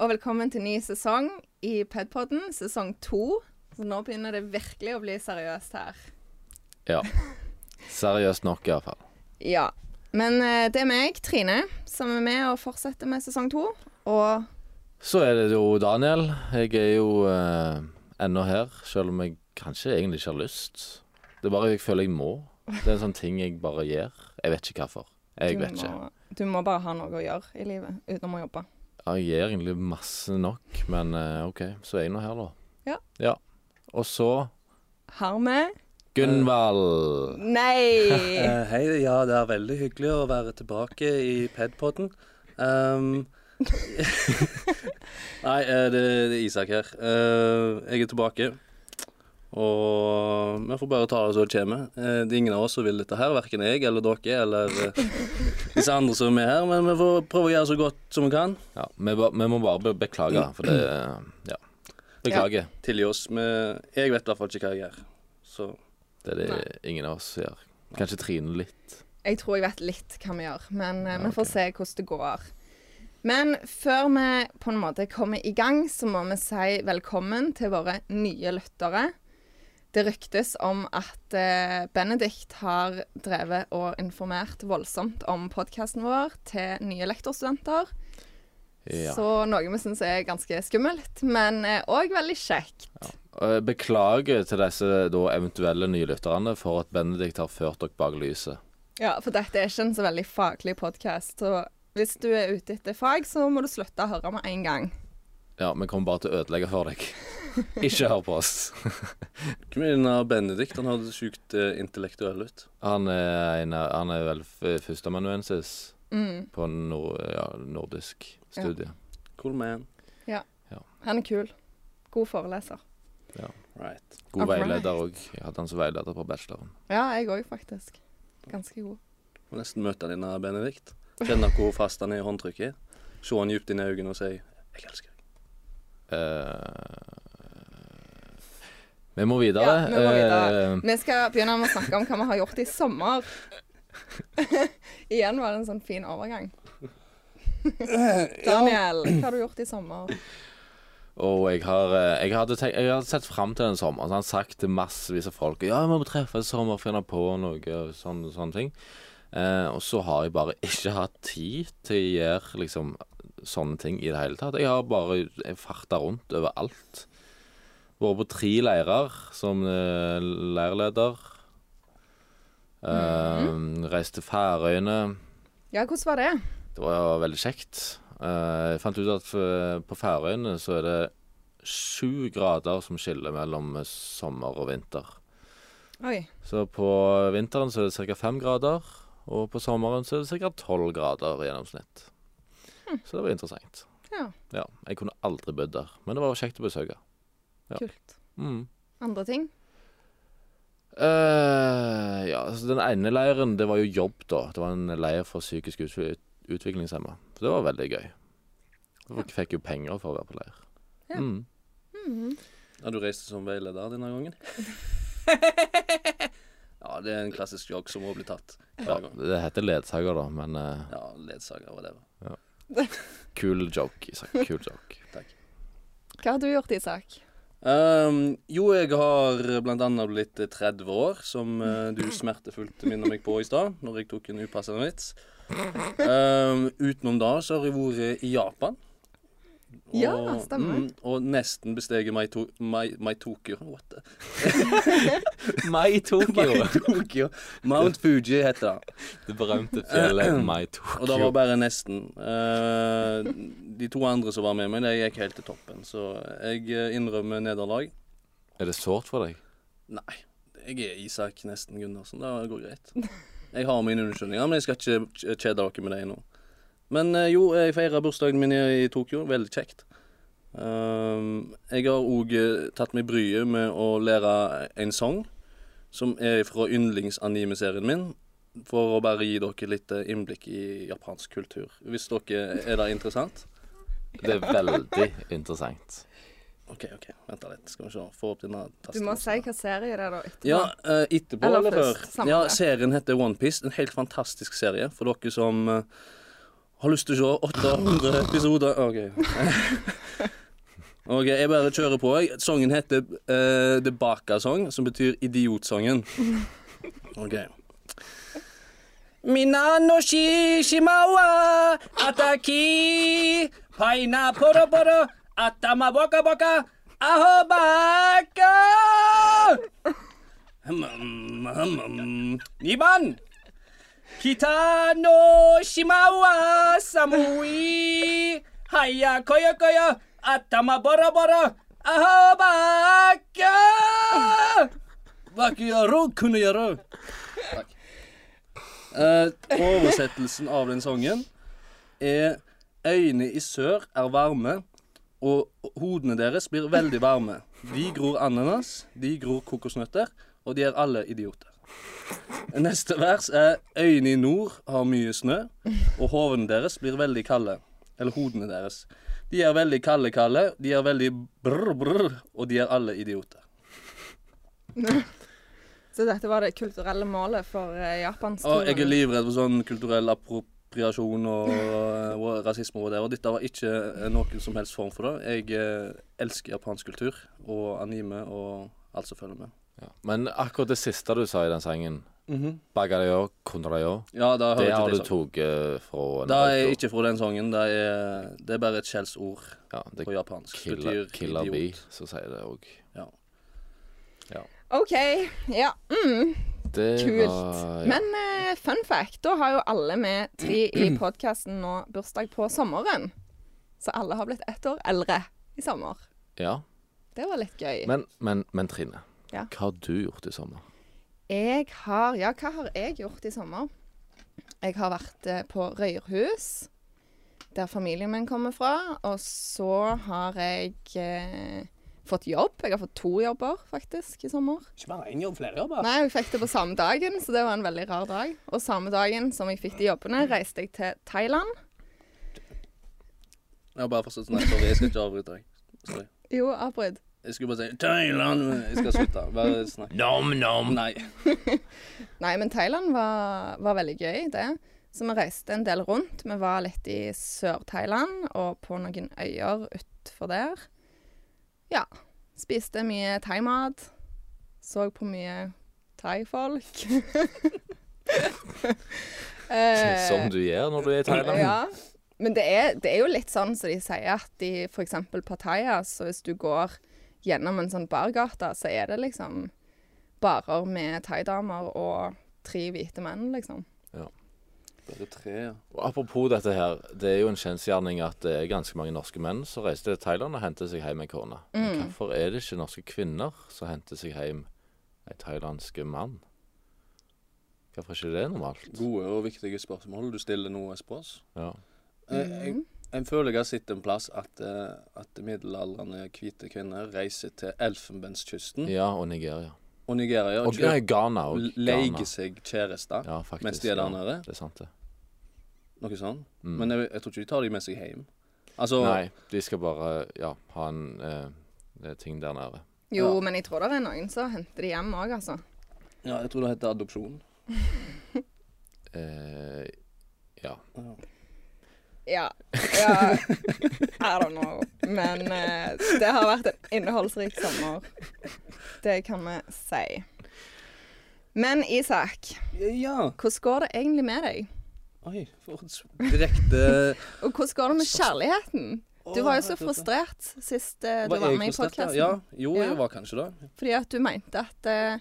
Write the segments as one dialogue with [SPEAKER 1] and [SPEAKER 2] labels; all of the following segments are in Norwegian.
[SPEAKER 1] og velkommen til ny sesong i Pedpodden, sesong to. Så nå begynner det virkelig å bli seriøst her.
[SPEAKER 2] Ja. Seriøst nok, iallfall.
[SPEAKER 1] Ja. Men eh, det er meg, Trine, som er med og fortsetter med sesong to. Og
[SPEAKER 2] Så er det jo Daniel. Jeg er jo eh, ennå her, selv om jeg kanskje egentlig ikke har lyst. Det er bare jeg føler jeg må. Det er en sånn ting jeg bare gjør. Jeg vet ikke hvorfor. Jeg
[SPEAKER 1] du,
[SPEAKER 2] vet ikke.
[SPEAKER 1] må, du må bare ha noe å gjøre i livet utenom å jobbe.
[SPEAKER 2] Ja, jeg gjør egentlig masse nok, men eh, OK, så er jeg nå her, da.
[SPEAKER 1] Ja.
[SPEAKER 2] Og så
[SPEAKER 1] Har vi
[SPEAKER 2] Gunvald.
[SPEAKER 1] Nei!
[SPEAKER 3] Eh, hei, ja, det er veldig hyggelig å være tilbake i E Pedpodden. Um, nei, eh, det, det er Isak her. Eh, jeg er tilbake. Og vi får bare ta det som det kommer. Eh, det er ingen av oss som vil dette her, verken jeg eller dere eller eh, disse andre som er her, men vi får prøve å gjøre så godt som vi kan.
[SPEAKER 2] Ja, vi, ba- vi må bare be beklage, for det Ja. Beklager.
[SPEAKER 3] Tilgi oss. Vi, jeg vet i hvert fall ikke hva jeg gjør. Så
[SPEAKER 2] Det er det ingen av oss som gjør. Kanskje Trine litt.
[SPEAKER 1] Jeg tror jeg vet litt hva vi gjør, men eh,
[SPEAKER 2] Ja,
[SPEAKER 1] vi får
[SPEAKER 2] ok.
[SPEAKER 1] se hvordan det går. Men før vi på en måte kommer i gang, så må vi si velkommen til våre nye lyttere. Det ryktes om at eh, Benedikt har drevet og informert voldsomt om podkasten vår til nye lektorstudenter.
[SPEAKER 2] Ja.
[SPEAKER 1] Så noe vi syns er ganske skummelt, men òg veldig kjekt.
[SPEAKER 2] Eh, Beklager til disse da eventuelle nye lytterne for at Benedikt har ført dere bak lyset.
[SPEAKER 1] Ja, For dette er ikke en så veldig faglig podkast, så hvis du er ute etter fag, så må du slutte å høre med en gang.
[SPEAKER 2] Ja, vi kommer bare til å ødelegge for deg. Ikke hør på oss.
[SPEAKER 3] Hvem er denne Benedikt? Han høres sjukt eh, intellektuell ut.
[SPEAKER 2] Han er, en, av- han er vel f- førsteamanuensis
[SPEAKER 1] Mm.
[SPEAKER 2] på nor ja, nordisk studie.
[SPEAKER 3] Cool man.
[SPEAKER 1] Han er kul. God foreleser.
[SPEAKER 3] Right.
[SPEAKER 2] God
[SPEAKER 1] Alright.
[SPEAKER 2] veileder òg. Jeg hadde han som veileder på bacheloren.
[SPEAKER 1] Ja, jeg òg, faktisk. Ganske god.
[SPEAKER 3] Må nesten møte han innan Benedikt. Kjenne hvor fast han er i håndtrykket. Se han dypt inn i øynene og si 'jeg elsker deg'.
[SPEAKER 2] Eh, vi må videre.
[SPEAKER 1] Ja, vi må videre.
[SPEAKER 2] Eh,
[SPEAKER 1] Vi skal begynne med å snakke om hva vi har gjort i sommer. Igjen var det en sånn fin overgang. Eh, Daniel, hva har du gjort i sommer?
[SPEAKER 2] Og jeg har, eh, jeg hadde, tenkt, jeg hadde sett fram til den sommeren. Så han sagt til massevis av folk Ja, vi må treffes i sommer, finne på noe og sånn, sånne ting. Eh, og så har jeg bare ikke hatt tid til å gjøre liksom, sånne ting i det hele tatt. Jeg har bare jeg farta rundt overalt. Vært på tre leirer som eh, leirleder. Eh, Reist til Færøyene.
[SPEAKER 1] Ja, hvordan var det?
[SPEAKER 2] Det var veldig kjekt. Eh, jeg fant ut at eh, på Færøyene så er det sju grader som skiller mellom eh, sommer og vinter.
[SPEAKER 1] Oi.
[SPEAKER 2] Så på vinteren så er det ca. fem grader, og på sommeren så er det ca. tolv grader i gjennomsnitt. Så det var interessant.
[SPEAKER 1] Ja,
[SPEAKER 2] Ja, jeg kunne aldri bodd der, men det var kjekt å besøke. Ja.
[SPEAKER 1] kult.
[SPEAKER 2] Mm.
[SPEAKER 1] Andre ting?
[SPEAKER 2] Eh, ja, altså den ene leiren, det var jo jobb, da. Det var en leir for psykisk ut utviklingshemma. Så det var veldig gøy. Folk fikk jo penger for å være på leir.
[SPEAKER 1] Ja.
[SPEAKER 2] Mm.
[SPEAKER 1] Mhm.
[SPEAKER 3] Ja, du reiste som veileder denne gangen? ja, det er en klassisk joke som må bli tatt
[SPEAKER 2] Ja,
[SPEAKER 3] hver gang.
[SPEAKER 2] det heter ledsager, da, men eh,
[SPEAKER 3] Ja, ledsager, whatever.
[SPEAKER 2] kul joke, Isak. Kul joke.
[SPEAKER 1] Hva har du gjort, Isak?
[SPEAKER 3] Um, jo, jeg har blant annet blitt 30 år, som eh, du smertefullt minner meg på i stad, når jeg tok en upassende vits. Um, utenom da så har jeg vært i Japan.
[SPEAKER 1] Ja, stemmer.
[SPEAKER 3] og nesten besteget Maito- Mai- Maitokyo. What the
[SPEAKER 2] Mai Tokyo.
[SPEAKER 3] Tokyo. Mount Fuji heter det.
[SPEAKER 2] det berømte fjellet Mai Tokyo.
[SPEAKER 3] Og det var bare nesten. Eh, de to andre som var med meg, de gikk helt til toppen. Så jeg eh, innrømmer nederlag.
[SPEAKER 2] Er det sårt for deg?
[SPEAKER 3] Nei, jeg er Isak nesten Gundersen. Det går greit. Jeg har mine unnskyldninger, men jeg skal ikke k- kjede dere med det nå. Men eh, jo, jeg feira bursdagen min i i Tokyo. Veldig kjekt. Ehm, jeg har òg eh, tatt meg bryet med å lære en sang som er fra yndlingsanimeserien min. For å bare gi dere litt eh, innblikk i japansk kultur. Hvis dere er det interessant?
[SPEAKER 2] Det er veldig interessant.
[SPEAKER 3] OK, ok, vent da litt. Skal vi se. Få opp denne
[SPEAKER 1] Du
[SPEAKER 3] tasten.
[SPEAKER 1] må si hva serie det er, da. etterpå.
[SPEAKER 3] Ja, eh, etterpå
[SPEAKER 1] Eller
[SPEAKER 3] eller,
[SPEAKER 1] først,
[SPEAKER 3] før.
[SPEAKER 1] samme
[SPEAKER 3] Ja,
[SPEAKER 1] det.
[SPEAKER 3] serien heter One Piece En helt fantastisk serie for dere som eh, Har lyst til å se 800 episoder OK. OK, jeg bare kjører på. jeg. Sangen heter uh, The Baka Song, som betyr idiotsangen. OK. Mina no shishimawa ataki paina poro poro atama boka boka aho baka Hum, hum, hum, hum. Niban Kita no shima wa samui. Haya koyo koyo. Atama boro boro. Aho bakka. Bakkejaro, kunnejaro. Eh, oversettelsen av den sangen er Øyne i sør er varme, og hodene deres blir veldig varme. De gror ananas, de gror kokosnøtter, og de er alle idioter. Neste vers er Øyene i nord har mye snø, og hovene deres blir veldig kalde. Eller hodene deres. De er veldig kalde, kalde. De er veldig brr, brr, og de er alle idioter.
[SPEAKER 1] Så dette var det kulturelle målet for eh,
[SPEAKER 3] Og jeg er
[SPEAKER 1] Japansturen.
[SPEAKER 3] livredd for sånn kulturell appropriasjon og, og rasisme og det, og dette var ikke eh, noen som helst form for det. Jeg eh, elsker japansk kultur og anime og alt som følger med.
[SPEAKER 2] Ja. Men akkurat det siste du sa i den sangen, Bagarayo, Kundrayo,
[SPEAKER 3] Ja, da hører
[SPEAKER 2] det
[SPEAKER 3] jeg
[SPEAKER 2] har
[SPEAKER 3] til
[SPEAKER 2] du
[SPEAKER 3] sangen.
[SPEAKER 2] tatt eh, fra en
[SPEAKER 3] Det er
[SPEAKER 2] radio.
[SPEAKER 3] ikke fra den sangen. Det er, det er bare et skjellsord
[SPEAKER 2] ja, det
[SPEAKER 3] på japansk.
[SPEAKER 2] Killer,
[SPEAKER 3] Betyr
[SPEAKER 2] killer
[SPEAKER 3] idiot.
[SPEAKER 2] Bee, så sier det òg.
[SPEAKER 3] Ja.
[SPEAKER 1] OK. Ja. Mm,
[SPEAKER 2] Det
[SPEAKER 1] kult.
[SPEAKER 2] var ja.
[SPEAKER 1] Men eh, fun fact, da har jo alle vi tre i podkasten nå bursdag på sommeren. Så alle har blitt ett år eldre i sommer.
[SPEAKER 2] ja.
[SPEAKER 1] Det var litt gøy.
[SPEAKER 2] Men, men, men Trine,
[SPEAKER 1] Ja.
[SPEAKER 2] hva har du gjort i sommer?
[SPEAKER 1] Jeg har Ja, hva har jeg gjort i sommer? Jeg har vært eh, på Røyrhus, der familien min kommer fra. Og så har jeg eh, fått jobb. Jeg har fått to jobber, faktisk, i sommer.
[SPEAKER 3] Ikke bare én jobb, flere jobber.
[SPEAKER 1] Nei, jeg fikk det på samme dagen, så det var en veldig rar dag. Og samme dagen som jeg fikk de jobbene, reiste jeg til Thailand.
[SPEAKER 3] Jeg har bare forstått Nei, sorry, jeg skal ikke avbryte deg. Sorry.
[SPEAKER 1] Jo, avbrudd.
[SPEAKER 3] Jeg skulle bare si Thailand. men Jeg skal slutte. Bare snakk.
[SPEAKER 2] Nom, nom.
[SPEAKER 3] Nei.
[SPEAKER 1] Nei, men Thailand var, var veldig gøy, det. Så vi reiste en del rundt. Vi var litt i Sør-Thailand og på noen øyer utfor der. Ja. Spiste mye thaimat. Så på mye thaifolk. Eh,
[SPEAKER 2] Som du gjør når du er i Thailand.
[SPEAKER 1] ja. Men det er, det er jo litt sånn som de sier at i f.eks. Pattaya, så hvis du går gjennom en sånn bargate, så er det liksom barer med thaidamer og tre hvite menn, liksom.
[SPEAKER 3] Bare tre, ja.
[SPEAKER 2] Og apropos dette her, det er jo en kjensgjerning at det er ganske mange norske menn som reiser til Thailand og henter seg hjem en kone. Men
[SPEAKER 1] Mm.
[SPEAKER 2] Hvorfor er det ikke norske kvinner som henter seg hjem en thailandske mann? Hvorfor er ikke det normalt?
[SPEAKER 3] Gode og viktige spørsmål du stiller nå, Espros.
[SPEAKER 2] Ja.
[SPEAKER 3] Eh, Jeg, jeg føler jeg har sett en plass at, eh, at middelaldrende hvite kvinner reiser til Elfenbenskysten
[SPEAKER 2] ja, og Nigeria.
[SPEAKER 3] og Nigeria og
[SPEAKER 2] Og
[SPEAKER 3] kjøper-
[SPEAKER 2] nei, Ghana òg.
[SPEAKER 3] leier seg kjærester
[SPEAKER 2] Ja, faktisk.
[SPEAKER 3] mens de er
[SPEAKER 2] ja.
[SPEAKER 3] der nede.
[SPEAKER 2] Det er sant, det.
[SPEAKER 3] Noe sånt.
[SPEAKER 2] Mm.
[SPEAKER 3] Men jeg, jeg tror ikke de tar dem med seg hjem. Altså,
[SPEAKER 2] Nei, de skal bare ja, ha en eh, ting der nede.
[SPEAKER 1] Jo,
[SPEAKER 3] Ja.
[SPEAKER 1] men jeg tror det er noen som henter de hjem òg, altså.
[SPEAKER 3] Ja, jeg tror det heter adopsjon.
[SPEAKER 2] Eh, ja.
[SPEAKER 1] Ja. ja. I don't know. Men eh, det har vært en innholdsrik sommer. Det kan vi si. Men Isak,
[SPEAKER 3] Ja.
[SPEAKER 1] hvordan går det egentlig med deg?
[SPEAKER 3] Oi, for et s- direkte
[SPEAKER 1] Og hvordan går det med kjærligheten? Du
[SPEAKER 3] Å,
[SPEAKER 1] var jo så
[SPEAKER 3] herregud.
[SPEAKER 1] frustrert sist eh, du
[SPEAKER 3] Var
[SPEAKER 1] var,
[SPEAKER 3] jeg
[SPEAKER 1] med i
[SPEAKER 3] frustrert, ja?
[SPEAKER 1] podkasten.
[SPEAKER 3] Ja, jo,
[SPEAKER 1] Ja.
[SPEAKER 3] jeg var kanskje det.
[SPEAKER 1] Fordi at du mente at eh,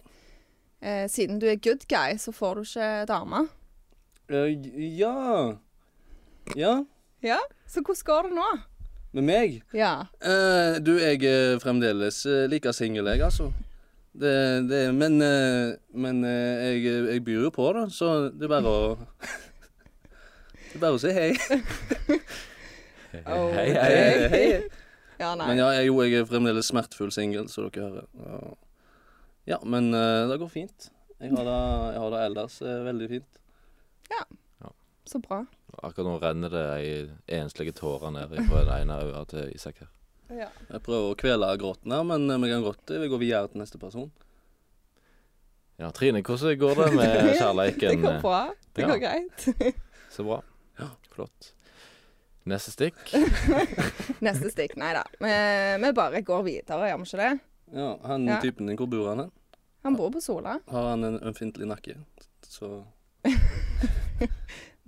[SPEAKER 1] eh, siden du er good guy, så får du ikke dame.
[SPEAKER 3] Eh, j- ja. Ja,
[SPEAKER 1] Ja. Så hvordan går det nå?
[SPEAKER 3] med meg.
[SPEAKER 1] Ja.
[SPEAKER 3] Eh, du, jeg er fremdeles eh, like singel, jeg, altså. Det, det, men eh, men eh, jeg, jeg byr jo på, da, så det er bare å Det er bare å si hei.
[SPEAKER 1] Oh,
[SPEAKER 2] hei,
[SPEAKER 1] hei.
[SPEAKER 3] hei.
[SPEAKER 1] Ja, nei.
[SPEAKER 3] Men ja, jeg, jo, jeg er fremdeles smertefull singel, så dere hører. Ja. Ja, men eh, det går fint. Jeg har det, jeg har det ellers eh, veldig fint.
[SPEAKER 1] Så bra.
[SPEAKER 2] Akkurat nå renner det ei enslige tåre ned fra det ene øyet til Isak her.
[SPEAKER 1] Ja.
[SPEAKER 3] Jeg prøver å kvele gråten her, men eh, vi kan godt eh, vi går videre til neste person.
[SPEAKER 2] Ja, Trine, hvordan går det med
[SPEAKER 1] Det
[SPEAKER 2] kjærleiken?
[SPEAKER 1] går bra. Det
[SPEAKER 2] eh, Ja.
[SPEAKER 1] går greit.
[SPEAKER 2] Så bra.
[SPEAKER 3] Ja.
[SPEAKER 2] Flott. Neste stikk.
[SPEAKER 1] Neste stikk. Nei da. Vi, vi bare går videre, gjør vi ikke det?
[SPEAKER 3] Ja, han
[SPEAKER 1] Ja.
[SPEAKER 3] typen din, hvor bor han hen?
[SPEAKER 1] Han bor på Sola.
[SPEAKER 3] Har han en ømfintlig nakke? Så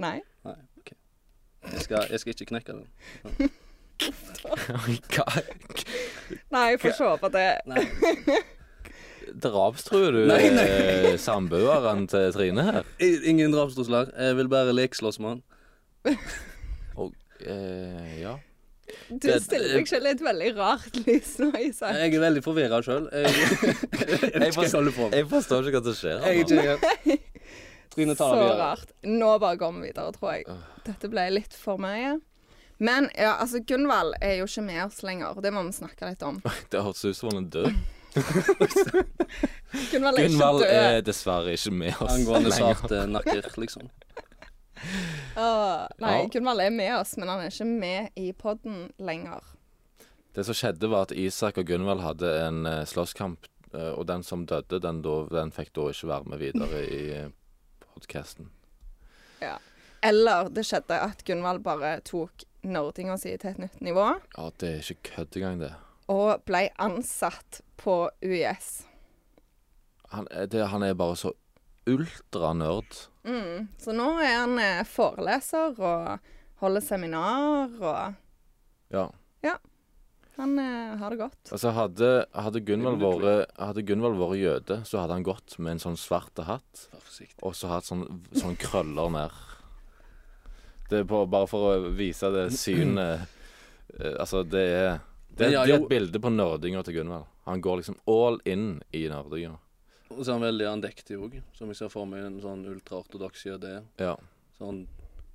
[SPEAKER 1] Nei.
[SPEAKER 3] Nei, OK. Jeg skal, jeg skal ikke knekke den.
[SPEAKER 2] Oi, hva?
[SPEAKER 1] Nei, jeg får se på det.
[SPEAKER 3] Nei.
[SPEAKER 2] Drapstruer du
[SPEAKER 3] Nei, nei.
[SPEAKER 2] eh, samboeren til Trine her?
[SPEAKER 3] I- Ingen drapstrusler. Jeg vil bare lekslåss med han.
[SPEAKER 2] Og, eh, ja.
[SPEAKER 1] Du
[SPEAKER 2] Det-
[SPEAKER 1] stiller deg selv i et veldig rart lys nå, Isak.
[SPEAKER 3] Jeg er veldig forvirra sjøl. Jeg, jeg vet ikke hva jeg holder på med.
[SPEAKER 2] Jeg forstår ikke hva som skjer.
[SPEAKER 3] Jeg er
[SPEAKER 2] her nå.
[SPEAKER 3] ikke helt Trine
[SPEAKER 1] Så
[SPEAKER 3] tar det videre.
[SPEAKER 1] rart. Nå bare går vi videre, tror jeg. Dette ble litt for mye. Men ja, altså, Gunvald er jo ikke med oss lenger. Det må vi snakke litt om.
[SPEAKER 2] Det hørtes ut som han er død.
[SPEAKER 1] Gunvald er ikke
[SPEAKER 2] Gunvald
[SPEAKER 1] død.
[SPEAKER 2] er dessverre ikke med oss
[SPEAKER 3] Angående
[SPEAKER 2] lenger.
[SPEAKER 3] sarte nakker, liksom.
[SPEAKER 1] Åh, nei,
[SPEAKER 2] Ja.
[SPEAKER 1] Gunvald er med oss, men han er ikke med i podden lenger.
[SPEAKER 2] Det som skjedde, var at Isak og Gunvald hadde en eh, slåsskamp, eh, og den som døde, den, da, den fikk da ikke være med videre i eh, podkasten.
[SPEAKER 1] Ja. Eller det skjedde at Gunvald bare tok nerdinga si til et nytt nivå,
[SPEAKER 2] Ja, det er ikke kødd engang, det.
[SPEAKER 1] og ble ansatt på UiS.
[SPEAKER 2] Han, er- det. han er bare så ultranerd.
[SPEAKER 1] Mm. Så nå er han eh, foreleser og holder seminar, og
[SPEAKER 2] Ja.
[SPEAKER 1] han eh, har det godt.
[SPEAKER 2] Altså, hadde, hadde Gunvald vært hadde Gunvald vært jøde, så hadde han gått med en sånn svart hatt
[SPEAKER 3] Vær forsiktig.
[SPEAKER 2] og så hatt sånn, sånn krøller ned. Det er på, bare for å vise det synet eh, Altså, det er Det,
[SPEAKER 3] Men ja,
[SPEAKER 2] det er
[SPEAKER 3] jo-
[SPEAKER 2] et bilde på nerdinga til Gunvald. Han går liksom all in i nerdinga.
[SPEAKER 3] Og så er han veldig andektig òg, som jeg ser for meg en sånn ultraortodoks jøde er.
[SPEAKER 2] Ja.
[SPEAKER 3] Sånn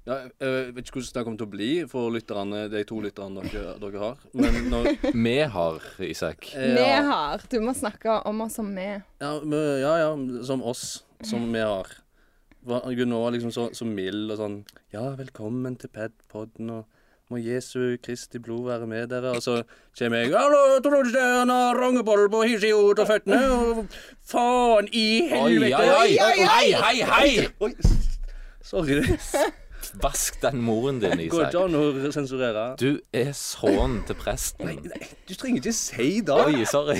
[SPEAKER 3] ja, Jeg vet ikke hvordan det kommer til å bli for lytterne, de to lytterne dere, dere har. Men når,
[SPEAKER 2] Vi har, Isak.
[SPEAKER 1] Vi
[SPEAKER 3] ja,
[SPEAKER 1] har Du må snakke om oss som vi.
[SPEAKER 3] ja, men- ja, ja, som oss, som vi har. Hva- Gunnar var liksom så, så mild og sånn Ja, velkommen til Padpodden, og må Jesu Kristi blod være med dere. Og så kommer jeg Hallo, tror du ikke han har rongeboll på hysjehjort og føttene? Og faen i helvete!
[SPEAKER 2] Hei, hei, hei!
[SPEAKER 3] Oi, sorry.
[SPEAKER 2] Vask den moren din,
[SPEAKER 3] Går det
[SPEAKER 2] Isak.
[SPEAKER 3] ikke an å sensurere?
[SPEAKER 2] Du er sønnen til presten.
[SPEAKER 3] Nei, Eh, du trenger ikke si det.
[SPEAKER 2] Oi, sorry.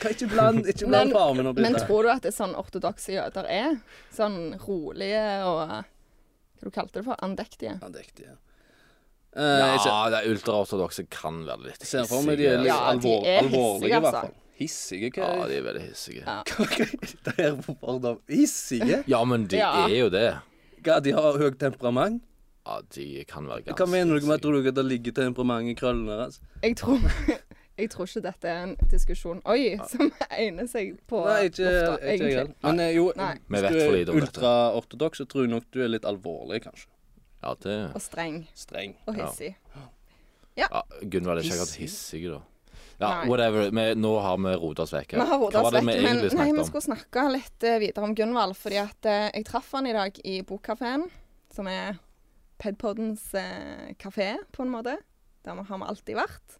[SPEAKER 3] Kan ikke bland, ikke
[SPEAKER 1] Men-
[SPEAKER 3] bland farmen opp i
[SPEAKER 1] Men
[SPEAKER 3] det.
[SPEAKER 1] tror du at det er sånn ortodokse jøder er? Sånn rolige og Hva du kalte det for? Andektige?
[SPEAKER 3] Ja, det er ikke det. Eh, jeg ser,
[SPEAKER 2] Ja, det ultraortodokse kan være litt
[SPEAKER 3] ser for meg de er
[SPEAKER 2] hissige. altså.
[SPEAKER 3] litt
[SPEAKER 1] Ja, de
[SPEAKER 3] alvor,
[SPEAKER 1] er
[SPEAKER 3] alvorlige,
[SPEAKER 1] hissige,
[SPEAKER 3] i hvert
[SPEAKER 1] altså.
[SPEAKER 3] fall. Hissige? Hva
[SPEAKER 2] Ja,
[SPEAKER 3] er
[SPEAKER 2] de er veldig hissige.
[SPEAKER 1] Ja.
[SPEAKER 3] det her på Vardø? Hissige?
[SPEAKER 2] Ja, men de
[SPEAKER 1] Ja.
[SPEAKER 2] er jo det.
[SPEAKER 3] Hva, de har høyt temperament?
[SPEAKER 2] Ja, de kan være ganske
[SPEAKER 3] Hva mener dere med
[SPEAKER 2] hissige.
[SPEAKER 3] tror dere at det ligger temperament i krøllene deres?
[SPEAKER 1] Jeg tror, jeg tror ikke dette er en diskusjon Oi, som egner seg på
[SPEAKER 3] Nei, ikke
[SPEAKER 1] lufta,
[SPEAKER 3] ikke jeg heller.
[SPEAKER 1] egentlig.
[SPEAKER 3] Men eh, jo,
[SPEAKER 1] Nei.
[SPEAKER 2] Vi vet
[SPEAKER 3] hvis du
[SPEAKER 2] for lite
[SPEAKER 3] er
[SPEAKER 2] om dette.
[SPEAKER 3] ultraortodoks, så tror jeg nok du er litt alvorlig, kanskje.
[SPEAKER 2] Ja, det
[SPEAKER 1] Og streng
[SPEAKER 3] Streng.
[SPEAKER 1] og hissig.
[SPEAKER 2] ja, Gunvald er ikke akkurat hissig, da. Ja,
[SPEAKER 1] Nei.
[SPEAKER 2] whatever. Vi, nå har vi rotet oss vekk. her.
[SPEAKER 1] Vi har rotet
[SPEAKER 2] Hva
[SPEAKER 1] oss
[SPEAKER 2] var det
[SPEAKER 1] vekk,
[SPEAKER 2] vi
[SPEAKER 1] men
[SPEAKER 2] egentlig
[SPEAKER 1] nei, vi
[SPEAKER 2] snakket om?
[SPEAKER 1] skulle snakke litt eh, videre om Gunvald. Fordi at eh, jeg traff han i dag i Bokkafeen, som er Pedpoddens eh, kafé, på en måte. Der vi har vi alltid vært.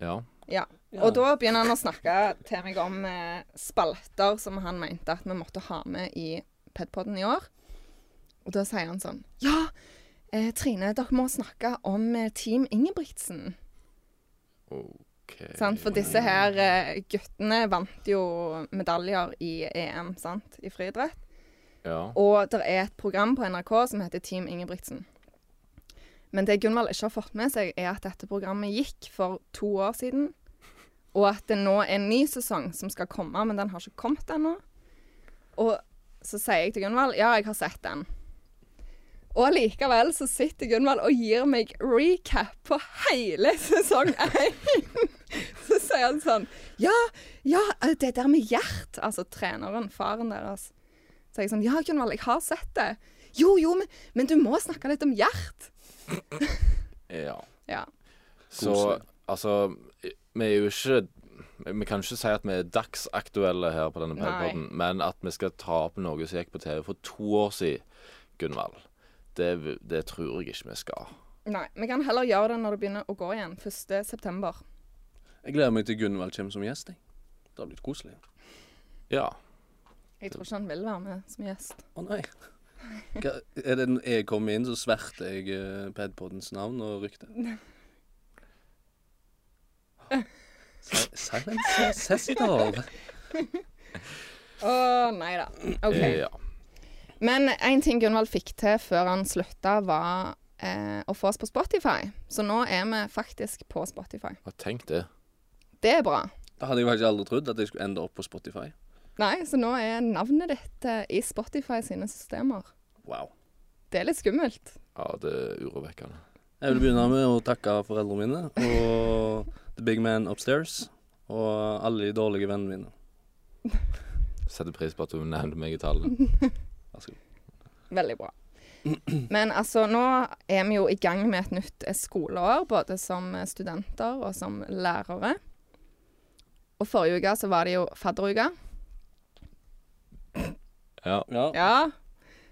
[SPEAKER 2] Ja.
[SPEAKER 1] Ja.
[SPEAKER 3] Ja.
[SPEAKER 1] Og da begynner han å snakke til meg om eh, spalter som han mente at vi måtte ha med i Pedpodden i år. Og da sier han sånn Ja, eh, Trine, dere må snakke om eh, Team Ingebrigtsen.
[SPEAKER 2] OK.
[SPEAKER 1] Sant? For disse her eh, guttene vant jo medaljer i EM, sant, i friidrett.
[SPEAKER 2] Ja.
[SPEAKER 1] Og det er et program på NRK som heter Team Ingebrigtsen. Men det Gunvald ikke har fått med seg, er at dette programmet gikk for to år siden. Og at det nå er en ny sesong som skal komme, men den har ikke kommet ennå. Og så sier jeg til Gunvald ja, jeg har sett den. Og likevel så sitter Gunvald og gir meg recap på hele sesong én. Så sier han sånn Ja, ja, det der med Gjert, altså treneren, faren deres. Så er jeg sånn Ja, Gunvald, jeg har sett det. Jo, jo, men, men du må snakke litt om Gjert.
[SPEAKER 2] ja.
[SPEAKER 1] Ja.
[SPEAKER 2] Så
[SPEAKER 3] Koselig.
[SPEAKER 2] altså Vi er jo ikke Vi kan ikke si at vi er dagsaktuelle her på denne
[SPEAKER 1] Nei.
[SPEAKER 2] podden, men at vi skal ta opp noe som gikk på TV for to år siden, Gunvald. Det, det tror jeg ikke vi skal.
[SPEAKER 1] Nei, vi kan heller gjøre det når det begynner å gå igjen. 1. september.
[SPEAKER 3] Jeg gleder meg til Gunvald kommer som gjest, jeg. Det har blitt koselig.
[SPEAKER 2] Ja.
[SPEAKER 1] Jeg tror ikke han vil være med som gjest.
[SPEAKER 3] Å nei. Hva, er det når jeg kommer inn, så sverter jeg eh, Padpoddens navn og rykte? Si- Silence Sessidal.
[SPEAKER 1] Å, nei da. OK.
[SPEAKER 2] Eh, Ja.
[SPEAKER 1] Men en ting Gunvald fikk til før han slutta, var eh, å få oss på Spotify. Så nå er vi faktisk på Spotify.
[SPEAKER 2] Og tenk det.
[SPEAKER 1] Det er bra.
[SPEAKER 3] Det hadde jeg faktisk aldri trodd, at jeg skulle ende opp på Spotify.
[SPEAKER 1] Nei, så nå er navnet ditt eh, i Spotify sine systemer.
[SPEAKER 3] Wow.
[SPEAKER 1] Det er litt skummelt.
[SPEAKER 2] Ja, det er urovekkende.
[SPEAKER 3] Jeg vil begynne med å takke foreldrene mine og The Big Man Upstairs og alle de dårlige vennene mine.
[SPEAKER 2] Setter pris på at du nevnte meg i tallet.
[SPEAKER 3] Vær så god.
[SPEAKER 1] Veldig bra. Men altså, nå er vi jo i gang med et nytt eh, skoleår, både som eh, studenter og som lærere. Og forrige uke så var det jo fadderuke.
[SPEAKER 2] Ja.
[SPEAKER 3] Ja.
[SPEAKER 1] Ja,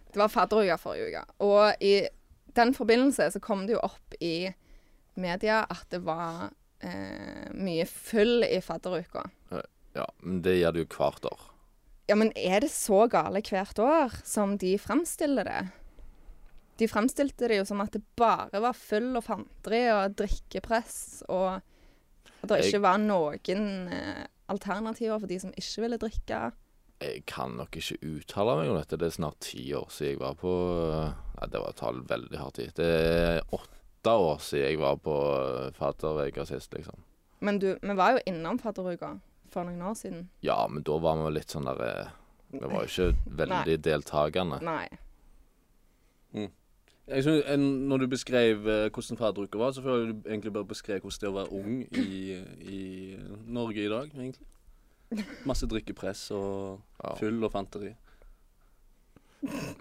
[SPEAKER 1] det var fadderuka forrige uke. Og i den forbindelse så kom det jo opp i media at det var eh, mye fyll i fadderuka.
[SPEAKER 2] ja, men det gjør det jo hvert år.
[SPEAKER 1] Ja, men er det så gale hvert år som de framstiller det? De framstilte det jo som at det bare var fyll og fanteri og drikkepress, og at det ikke var noen eh, alternativer for de som ikke ville drikke.
[SPEAKER 2] Jeg kan nok ikke uttale meg om dette. Det er snart ti år siden jeg var på Nei, det var et tall veldig hardt i. Det er åtte år siden jeg var på fadderveka sist, liksom.
[SPEAKER 1] Men du, vi var jo innom fadderuka for noen år siden.
[SPEAKER 2] Ja, men da var vi litt sånn der eh, Vi var jo ikke veldig deltakende.
[SPEAKER 1] Nei.
[SPEAKER 3] Jeg synes, en- når du beskrev eh, hvordan fadderuka var, så føler jeg du egentlig bare beskrev hvordan det er å være ung i, i Norge i dag, egentlig. Masse drikkepress og
[SPEAKER 2] Ja.
[SPEAKER 3] fyll og fanteri.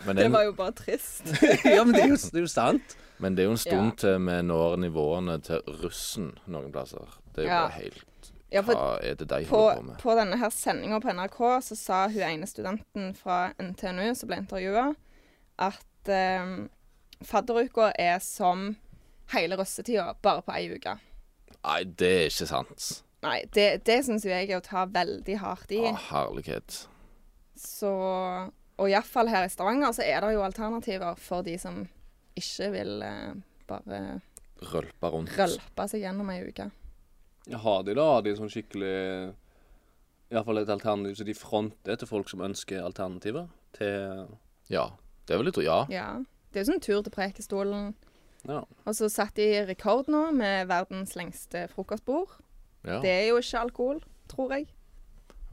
[SPEAKER 2] Men, det
[SPEAKER 1] Det
[SPEAKER 2] er,
[SPEAKER 1] var jo bare trist.
[SPEAKER 3] ja, men det er jo, det er jo sant.
[SPEAKER 2] en- men det er jo en stund
[SPEAKER 1] Ja.
[SPEAKER 2] til vi når nivåene til russen noen plasser. Det er jo
[SPEAKER 1] Ja.
[SPEAKER 2] bare helt
[SPEAKER 1] Ja,
[SPEAKER 2] Hva
[SPEAKER 1] for
[SPEAKER 2] er det de
[SPEAKER 1] på,
[SPEAKER 2] holder på med?
[SPEAKER 1] på denne her sendinga på NRK så sa hun ene studenten fra NTNU som ble intervjua, at eh, fadderuka er som hele russetida, bare på ei uke.
[SPEAKER 2] Nei, det er ikke sant.
[SPEAKER 1] Nei, det, det syns jo jeg er å ta veldig hardt i.
[SPEAKER 2] Å, herlighet.
[SPEAKER 1] Så Og iallfall her i Stavanger så er det jo alternativer for de som ikke vil eh, bare
[SPEAKER 2] Rølpa rundt.
[SPEAKER 1] rølpe seg gjennom ei uke.
[SPEAKER 3] Ja, Har de da har de sånn skikkelig Iallfall et alternativ som de fronter til folk som ønsker alternativer? Til
[SPEAKER 2] Ja. Det er vel litt Ja.
[SPEAKER 1] Ja. Det er jo sånn tur til Prekestolen.
[SPEAKER 3] Ja.
[SPEAKER 1] Og så satte de rekord nå med verdens lengste frokostbord.
[SPEAKER 2] ja.
[SPEAKER 1] Det er jo ikke alkohol, tror jeg.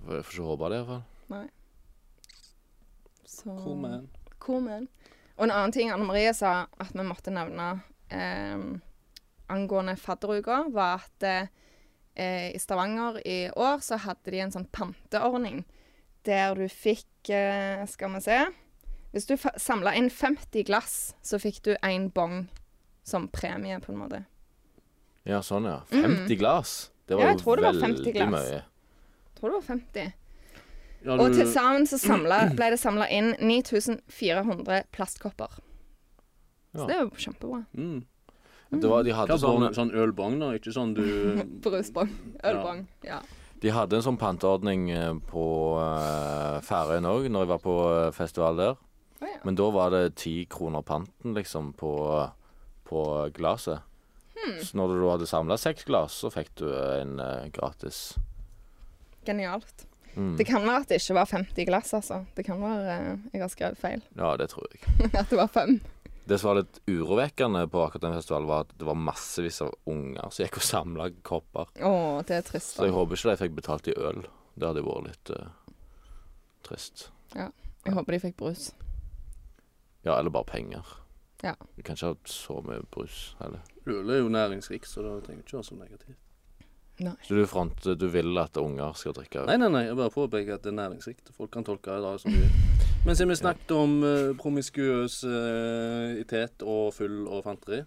[SPEAKER 2] Får får ikke håpe det, i hvert fall.
[SPEAKER 1] Så...
[SPEAKER 3] Cool man.
[SPEAKER 1] Cool man. Og en annen ting Anne Marie sa at vi måtte nevne eh, angående fadderuka, var at eh, i Stavanger i år så hadde de en sånn panteordning der du fikk eh, Skal vi se Hvis du samla inn 50 glass, så fikk du én bong som premie, på en måte.
[SPEAKER 2] Ja, sånn, ja. 50 glass. Det
[SPEAKER 1] Mm.
[SPEAKER 2] var
[SPEAKER 1] Ja,
[SPEAKER 2] jo
[SPEAKER 1] jeg tror det var 50
[SPEAKER 2] veldig
[SPEAKER 1] glass.
[SPEAKER 2] mye.
[SPEAKER 1] Jeg tror det var 50.
[SPEAKER 3] Ja,
[SPEAKER 1] Og
[SPEAKER 3] du-
[SPEAKER 1] til sammen så samla, ble det samla inn 9400 plastkopper. Så
[SPEAKER 2] Ja.
[SPEAKER 1] det er jo kjempebra.
[SPEAKER 3] mm.
[SPEAKER 2] Det
[SPEAKER 1] Mm.
[SPEAKER 2] var, de,
[SPEAKER 3] Hva
[SPEAKER 2] hadde
[SPEAKER 3] sånn,
[SPEAKER 2] sånn,
[SPEAKER 3] sånn ølbong, da? Ikke sånn du
[SPEAKER 1] Brusbong. Ølbong. Ja.
[SPEAKER 2] de hadde en sånn panteordning eh, på uh, Færøyene òg, når jeg var på eh, festival der.
[SPEAKER 1] Å ja.
[SPEAKER 2] Men da var det ti kroner panten, liksom, på, på glasset.
[SPEAKER 1] Hmm.
[SPEAKER 2] Så når du da hadde samla seks glass, så fikk du eh, en eh, gratis.
[SPEAKER 1] Genialt.
[SPEAKER 2] Mm.
[SPEAKER 1] Det kan være at det ikke var 50 glass, altså. Det kan være eh, jeg har skrevet feil.
[SPEAKER 2] Ja, det tror jeg.
[SPEAKER 1] at det var fem.
[SPEAKER 2] Det som var litt urovekkende på akkurat den festivalen, var at det var massevis av unger som gikk og samla kopper.
[SPEAKER 1] Å, det er trist.
[SPEAKER 2] Så jeg
[SPEAKER 1] da.
[SPEAKER 2] håper ikke de fikk betalt i øl. Det hadde vært litt eh, trist.
[SPEAKER 1] Jeg håper de fikk brus.
[SPEAKER 2] Ja, eller bare penger.
[SPEAKER 1] Ja.
[SPEAKER 2] Du kan ikke ha så mye brus heller.
[SPEAKER 3] Øl er jo næringsrik, så det trenger ikke være så negativt.
[SPEAKER 1] Nei.
[SPEAKER 2] Så du fronter Du vil at unger skal drikke øl?
[SPEAKER 3] Nei, nei, nei, jeg bare påpeker at det er næringsrikt. Folk kan tolke det da som de vil. Men siden vi snakket om uh, promiskuøsitet og full og fanteri,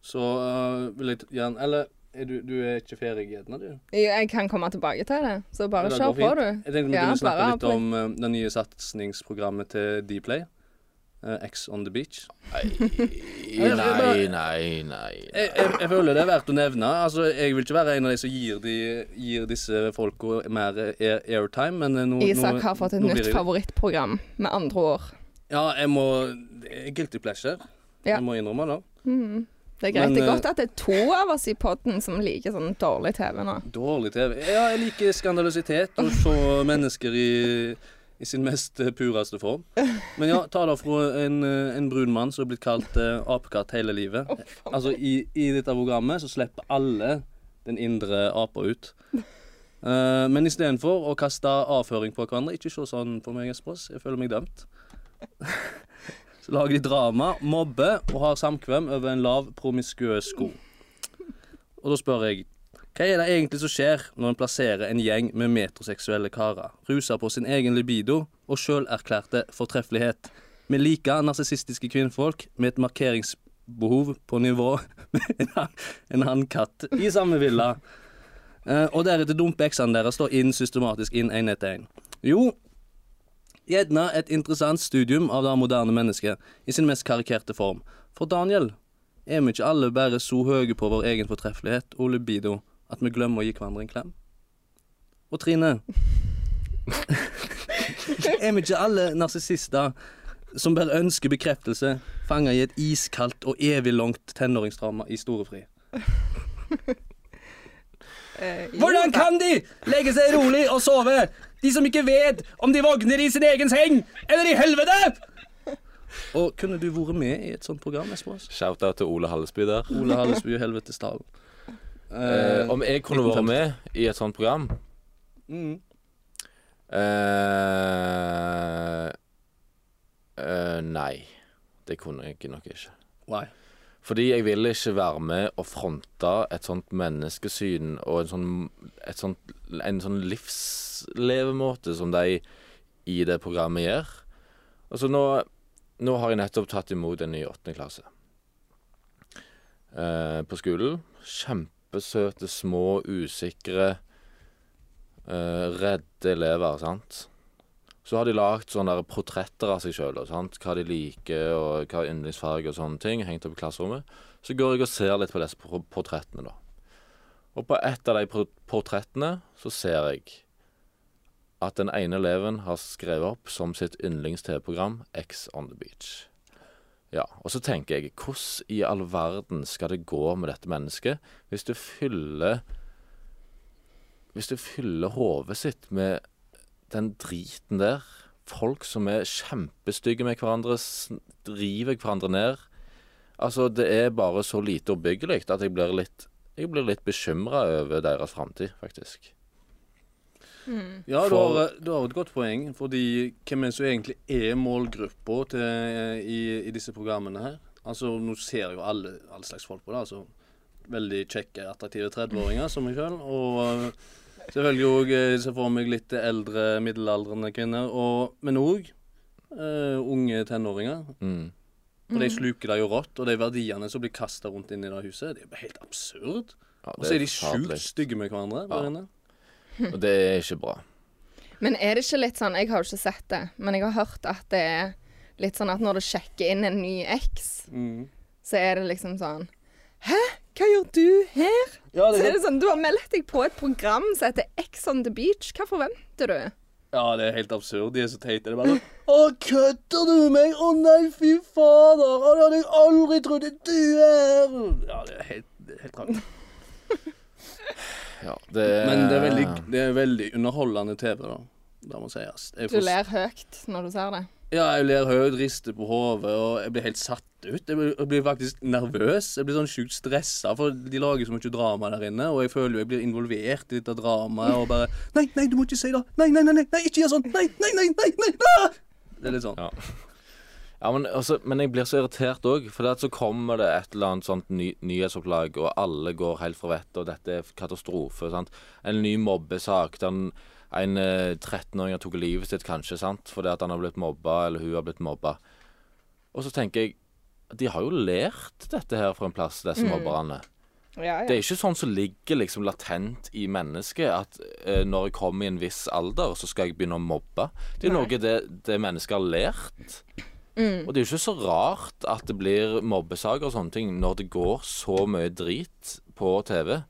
[SPEAKER 3] så eh, vil jeg t- gjerne Eller er du, du er ikke ferdig ennå, du?
[SPEAKER 1] Jeg kan komme tilbake til det, så bare
[SPEAKER 3] Ja, det
[SPEAKER 1] kjør
[SPEAKER 3] går
[SPEAKER 1] på,
[SPEAKER 3] fint.
[SPEAKER 1] du.
[SPEAKER 3] Jeg tenkte vi
[SPEAKER 1] Ja,
[SPEAKER 3] kunne snakke
[SPEAKER 1] bare
[SPEAKER 3] litt om eh, det nye satsingsprogrammet til Dplay. eh, X on the beach.
[SPEAKER 2] Nei, nei, nei. nei.
[SPEAKER 3] Jeg, jeg, jeg føler det er verdt å nevne. Altså, Jeg vil ikke være en av de som gir, de, gir disse folka mer air- airtime, men eh, nå
[SPEAKER 1] Isak har fått et
[SPEAKER 3] nå blir
[SPEAKER 1] nytt
[SPEAKER 3] jeg-
[SPEAKER 1] favorittprogram, med andre ord.
[SPEAKER 3] Ja, jeg må det er Guilty pleasure.
[SPEAKER 1] Ja.
[SPEAKER 3] Jeg må innrømme det.
[SPEAKER 1] Det er greit.
[SPEAKER 3] Men,
[SPEAKER 1] det er
[SPEAKER 3] eh,
[SPEAKER 1] godt at det er to av oss i podden som liker sånn dårlig TV nå.
[SPEAKER 3] Dårlig TV. Ja, jeg liker skandaløsitet og så mennesker i, i sin mest eh, pureste form. Men ja, ta det fra en, eh, en brun mann som er blitt kalt eh, apekatt hele livet. Altså, i, i dette programmet så slipper alle den indre apa ut. Eh, men istedenfor å kaste avføring på hverandre Ikke se sånn på meg, Espros. Jeg føler meg dømt. Så lager de drama, mobber og har samkvem over en lav, promiskuøs sko. Og da spør jeg hva er det egentlig som skjer når en plasserer en gjeng med metroseksuelle karer, rusa på sin egen libido og sjølerklærte fortreffelighet, med like narsissistiske kvinnfolk med et markeringsbehov på nivå med en han- en hannkatt i samme villa? Eh, og deretter dumper eksene deres da inn systematisk inn én etter én. Jo, gjerne et interessant studium av det moderne mennesket i sin mest karikerte form. For Daniel er vi ikke alle bare så høye på vår egen fortreffelighet og libido at vi glemmer å gi hverandre en klem? Og Trine Er vi ikke alle narsissister som bare ønsker bekreftelse, fanga i et iskaldt og evig langt tenåringsdrama i storefri?
[SPEAKER 1] Eh, jo
[SPEAKER 3] Hvordan
[SPEAKER 1] da.
[SPEAKER 3] kan de legge seg rolig og sove, de som ikke vet om de våkner i sin egen seng eller i helvete? Og kunne du vært med i et sånt program, Espros?
[SPEAKER 2] Shout-out til Ole Hallesby der.
[SPEAKER 3] Ole Hallesby og Helvetesdalen.
[SPEAKER 2] Eh, om jeg kunne vært
[SPEAKER 3] 1950.
[SPEAKER 2] med i et sånt program
[SPEAKER 3] Mm.
[SPEAKER 2] eh, eh, Nei. Det kunne jeg nok ikke.
[SPEAKER 3] Why?
[SPEAKER 2] Fordi jeg vil ikke være med og fronte et sånt menneskesyn og en sånn, et sånt, en sånn livslevemåte som de i det programmet gjør. Altså nå, nå har jeg nettopp tatt imot en ny åttende klasse eh, på skolen. Kjempesøte, små, usikre, eh, redde elever, sant. Så har de lagd sånne der portretter av seg sjøl, hva de liker og hva yndlingsfarge og sånne ting, hengt opp i klasserommet. Så går jeg og ser litt på disse por- portrettene, da. Og på ett av de por- portrettene så ser jeg at den ene eleven har skrevet opp som sitt yndlings-TV-program X on the beach. Ja, og så tenker jeg, hvordan i all verden skal det gå med dette mennesket hvis du fyller Hvis du fyller hodet sitt med den driten der Folk som er kjempestygge med hverandre, sn- river hverandre ned. Altså, det er bare så lite oppbyggelig at jeg blir litt jeg blir litt bekymra over deres framtid, faktisk.
[SPEAKER 3] Ja, du
[SPEAKER 2] For-
[SPEAKER 3] har, du har et godt poeng, fordi hvem er det som egentlig er målgruppa til, i, i disse programmene her? Altså, nå ser jo alle, alle slags folk på det. altså Veldig kjekke, attraktive 30-åringer som meg sjøl. Og eh, selvfølgelig òg ser for meg litt eldre, middelaldrende kvinner. Og, men òg eh, unge tenåringer.
[SPEAKER 2] Mm.
[SPEAKER 3] Og de sluker det jo rått. Og de verdiene som blir kasta rundt inn i det huset, det er jo helt absurd.
[SPEAKER 2] Ja,
[SPEAKER 3] Og så er de
[SPEAKER 2] forferdelig.
[SPEAKER 3] sjukt stygge med hverandre
[SPEAKER 2] Ja.
[SPEAKER 3] der inne.
[SPEAKER 2] Og det er ikke bra.
[SPEAKER 1] Men er det ikke litt sånn Jeg har jo ikke sett det, men jeg har hørt at det er litt sånn at når du sjekker inn en ny eks,
[SPEAKER 3] Mm.
[SPEAKER 1] så er det liksom sånn Hæ? Hva gjør du her?
[SPEAKER 3] Ja,
[SPEAKER 1] Så
[SPEAKER 3] det,
[SPEAKER 1] er det sånn, Du har meldt deg på et program som heter X on the beach. Hva forventer du?
[SPEAKER 3] Ja, det er helt absurd. De er så teite. Det er bare sånn Å, kødder du meg? Å nei, fy fader! Å, det hadde jeg aldri trodd at du er Ja, det er helt, det er helt rart.
[SPEAKER 2] Ja, det er,
[SPEAKER 3] Men det er veldig, det er veldig underholdende TV, da. Det må sies. Jeg
[SPEAKER 1] Du
[SPEAKER 3] får-
[SPEAKER 1] ler høyt når du ser det.
[SPEAKER 3] Ja, jeg ler høyt, rister på hodet, og jeg blir helt satt ut. Jeg blir, jeg blir faktisk nervøs. Jeg blir sånn sjukt stressa, for de lager så mye drama der inne, og jeg føler jo jeg blir involvert i dette dramaet, og bare Nei, nei, du må ikke si det! Nei, nei, nei, nei, nei ikke gjør sånn! Nei, nei, nei, nei! nei, ah!» Det er litt sånn.
[SPEAKER 2] Ja. Ja, men, altså, men jeg blir så irritert òg, for det at så kommer det et eller annet sånt ny, nyhetsopplag, og alle går helt fra vettet, og dette er katastrofe. sant? En ny mobbesak der en, en eh, 13-åring har tatt livet sitt, kanskje, sant? fordi at han har blitt mobba, eller hun har blitt mobba. Og så tenker jeg de har jo lært dette her fra en plass, disse mobberne.
[SPEAKER 1] Ja,
[SPEAKER 2] Det er ikke sånn som ligger liksom latent i mennesket at eh, når jeg kommer i en viss alder, så skal jeg begynne å mobbe. Det er
[SPEAKER 1] Nei. Mm.
[SPEAKER 2] noe det, det mennesket har lært. Og det er jo ikke så rart at det blir mobbesaker og sånne ting når det går så mye drit på TV.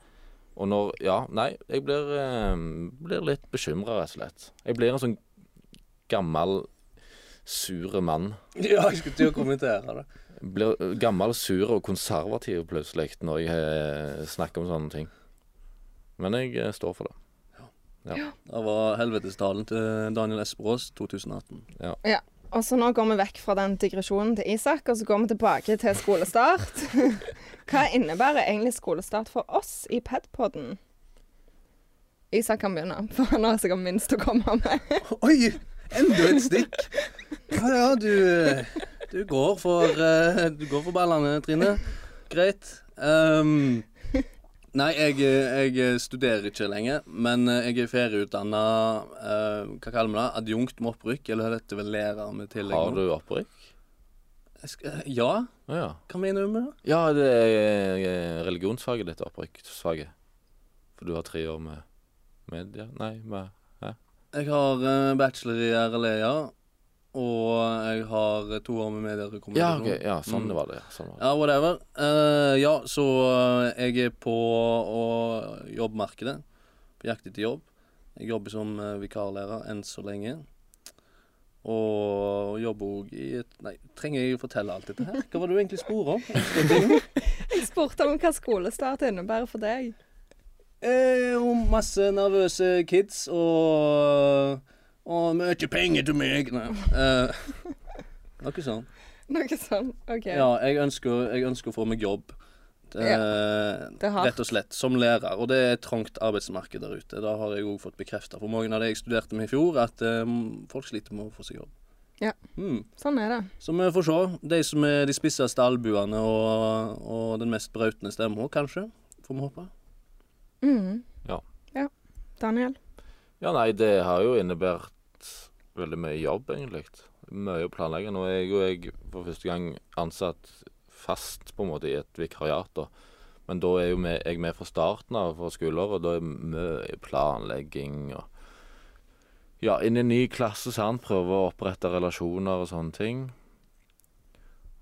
[SPEAKER 2] Og når Ja, nei, jeg blir, eh, blir litt bekymra, rett og slett. Jeg blir en sånn gammel sure mann.
[SPEAKER 3] Ja, jeg skulle til å kommentere det.
[SPEAKER 2] Blir gammel, sur og konservativ plutselig når jeg eh, snakker om sånne ting. Men jeg eh, står for det.
[SPEAKER 3] Det var helvetestalen til Daniel Esperås 2018.
[SPEAKER 1] Og så nå går vi vekk fra den digresjonen til Isak, og så går vi tilbake til skolestart. Hva innebærer egentlig skolestart for oss i Pedpodden? Isak kan begynne, for han har sikkert minst å komme med.
[SPEAKER 3] Oi! Enda et stikk. Ja, ja, du, du går for eh, Du går for ballene, Trine. Greit. Ehm, nei, jeg, jeg studerer ikke lenger, men eh, jeg er ferieutdanna Hva kaller vi det? Adjunkt med opprykk? Eller er dette vel lærer med tillegg?
[SPEAKER 2] Har
[SPEAKER 3] nå?
[SPEAKER 2] du opprykk?
[SPEAKER 3] Jeg skal- Ja?
[SPEAKER 2] Å Ja.
[SPEAKER 3] Hva mener du med det?
[SPEAKER 2] ja, det er eh, religionsfaget ditt, opprykksfaget. For du har tre år med media Nei, med
[SPEAKER 3] Jeg har eh, bachelor i RLE, ja. Og jeg har eh, to år med medier og
[SPEAKER 2] Ja,
[SPEAKER 3] kommunikasjon.
[SPEAKER 2] ok, ja sånn
[SPEAKER 3] Mm.
[SPEAKER 2] det var det. ja, Sånn var det.
[SPEAKER 3] Ja, whatever. Eh, ja, så eh, jeg er på å- jobbmarkedet. På jakt etter jobb. Jeg jobber som eh, vikarlærer enn så lenge. Og jobber òg i et Nei, trenger jeg å fortelle alt dette her? Hva var det du egentlig spor om?
[SPEAKER 1] Jeg spurte om hva skolestart innebærer for deg.
[SPEAKER 3] Eh, om masse nervøse kids og Og mye penger til meg. Nei. Eh, noe sånn.
[SPEAKER 1] Noe sånn. OK.
[SPEAKER 3] Ja, jeg ønsker, jeg ønsker å få meg jobb. Det,
[SPEAKER 1] det er hardt.
[SPEAKER 3] rett og slett. Som lærer. Og det er et trangt arbeidsmarked der ute. Det har jeg òg fått bekrefta for mange av de jeg studerte med i fjor, at eh, folk sliter med å få seg jobb.
[SPEAKER 1] Ja.
[SPEAKER 3] Mm.
[SPEAKER 1] Sånn er det.
[SPEAKER 3] Så vi får se. De som er de spisseste albuene og, og den mest brautende stemmen, kanskje. Får vi håpe.
[SPEAKER 1] Mhm.
[SPEAKER 2] Ja.
[SPEAKER 1] ja. Daniel?
[SPEAKER 2] Ja, nei, det har jo innebært veldig mye jobb, egentlig. Mye å planlegge. Nå er jeg jo jeg for første gang ansatt fast på en måte i et vikariat, da. Men da er jo med, jeg med fra starten av fra skoleåret, og da er mye planlegging og Ja, inn i en ny klasse, sant. Prøve å opprette relasjoner og sånne ting.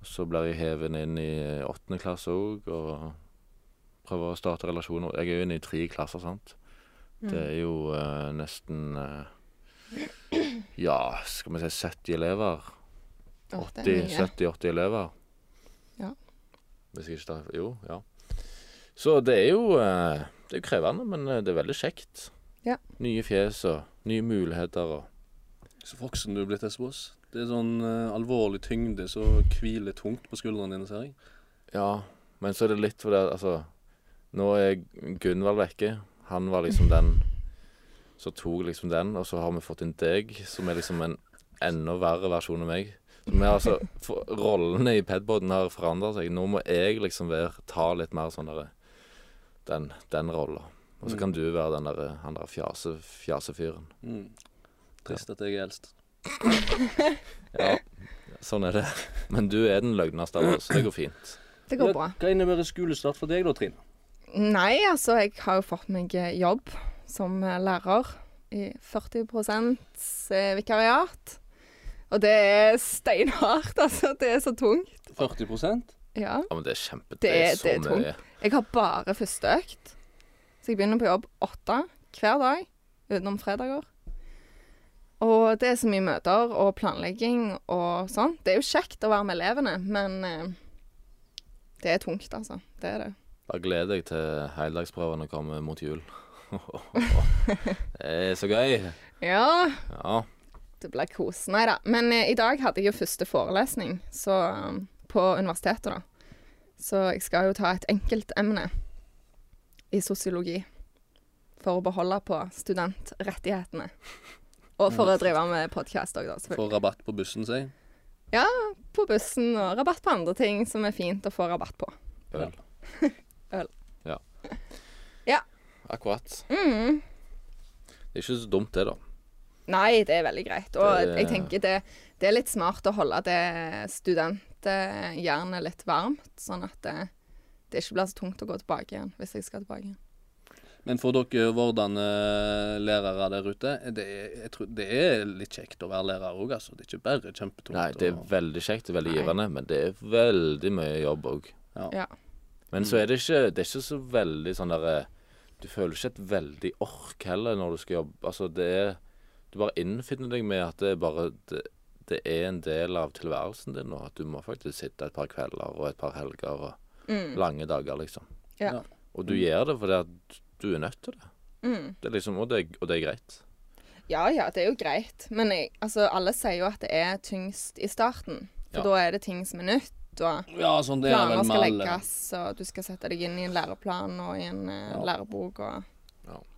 [SPEAKER 2] Så blir jeg hevet inn i åttende klasse òg, og prøver å starte relasjoner. Jeg er jo inne i tre klasser, sant. Det er jo eh, nesten eh, Ja, skal vi si 70 elever?
[SPEAKER 1] Å, det er
[SPEAKER 2] 80,
[SPEAKER 1] mye.
[SPEAKER 2] 70-80 elever.
[SPEAKER 1] Ja.
[SPEAKER 2] Hvis jeg ikke tar Jo, ja. Så det er jo eh, Det er jo krevende, men eh, det er veldig kjekt.
[SPEAKER 1] Ja.
[SPEAKER 2] Nye fjes og nye muligheter og
[SPEAKER 3] Så voksen du er blitt, Espros. Det er sånn eh, alvorlig tyngde som hviler tungt på skuldrene dine, ser jeg.
[SPEAKER 2] Ja, men så er det litt fordi at, altså Nå er Gunvald vekke. Han var liksom den Så tok liksom den, og så har vi fått inn deg, som er liksom en enda verre versjon av meg. Så vi har altså, for, Rollene i Pedboden har forandra seg. Nå må jeg liksom være, ta litt mer sånn derre Den, den rolla. Og så kan du være den derre han der fjase, fjasefyren.
[SPEAKER 3] Mm. Trist at jeg er eldst.
[SPEAKER 2] Ja, sånn er det. Men du er den løgneste av oss. Det går fint.
[SPEAKER 1] Det går bra.
[SPEAKER 3] Hva innebærer skolestart for deg da, Trine?
[SPEAKER 1] Nei, altså, jeg har jo fått meg eh, jobb som eh, lærer i 40 eh, vikariat. Og det er steinhardt, altså. Det er så tungt.
[SPEAKER 3] 40
[SPEAKER 1] Ja.
[SPEAKER 2] Ja, men det er kjempe...
[SPEAKER 1] Det er-
[SPEAKER 2] så
[SPEAKER 1] det er tungt.
[SPEAKER 2] mye.
[SPEAKER 1] Jeg har bare første økt. Så jeg begynner på jobb åtte hver dag, utenom fredager. Og det er så mye møter og planlegging og sånn. Det er jo kjekt å være med elevene, men eh, det er tungt, altså. Det er det.
[SPEAKER 2] Bare gled deg til heldagsprøvene kommer mot jul. det er så gøy.
[SPEAKER 1] Ja,
[SPEAKER 2] Ja.
[SPEAKER 1] det ble kos. Nei da. Men eh, i dag hadde jeg jo første forelesning så, um, på universitetet, da. Så jeg skal jo ta et enkeltemne i sosiologi for å beholde på studentrettighetene. Og for å drive med podkast òg, da. selvfølgelig.
[SPEAKER 3] Får rabatt på bussen, sier jeg.
[SPEAKER 1] På bussen og rabatt på andre ting som er fint å få rabatt på.
[SPEAKER 2] Øl.
[SPEAKER 1] Øl.
[SPEAKER 2] Ja.
[SPEAKER 1] Ja.
[SPEAKER 2] Akkurat.
[SPEAKER 1] Mm.
[SPEAKER 2] Det er ikke så dumt, det, da.
[SPEAKER 1] Nei, det er veldig greit. Og
[SPEAKER 2] Det-
[SPEAKER 1] jeg tenker det, det er litt smart å holde det studenthjernet litt varmt, sånn at det, det ikke blir så tungt å gå tilbake igjen, hvis jeg skal tilbake igjen.
[SPEAKER 3] Men for dere vordende eh, lærere der ute, det er, jeg tror, det er litt kjekt å være lærer òg, altså. Det er ikke bare kjempetungt.
[SPEAKER 2] Nei, det er
[SPEAKER 3] og-
[SPEAKER 2] veldig kjekt, det er veldig
[SPEAKER 1] Nei.
[SPEAKER 2] givende, men det er veldig mye jobb òg.
[SPEAKER 3] ja.
[SPEAKER 1] Ja.
[SPEAKER 2] Men
[SPEAKER 1] Mm.
[SPEAKER 2] så er det ikke Det er ikke så veldig sånn derre Du føler ikke et veldig ork heller når du skal jobbe. Altså, det er Du bare innfinner deg med at det er bare det, det er en del av tilværelsen din nå. At du må faktisk sitte et par kvelder og et par helger og
[SPEAKER 1] Mm.
[SPEAKER 2] lange dager, liksom.
[SPEAKER 1] Ja.
[SPEAKER 3] Ja.
[SPEAKER 2] Og du gjør det fordi at du er nødt til det.
[SPEAKER 1] Mm.
[SPEAKER 2] det er liksom, og, det er, og det er greit.
[SPEAKER 1] Ja ja, det er jo greit. Men jeg, altså, alle sier jo at det er tyngst i starten. For
[SPEAKER 2] Ja.
[SPEAKER 1] da er det ting som er nytt, og
[SPEAKER 3] Ja, sånn det er
[SPEAKER 1] planer
[SPEAKER 3] vel med
[SPEAKER 1] skal
[SPEAKER 3] alle.
[SPEAKER 1] legges, og du skal sette deg inn i en læreplan og i en eh,
[SPEAKER 3] Ja.
[SPEAKER 1] lærebok og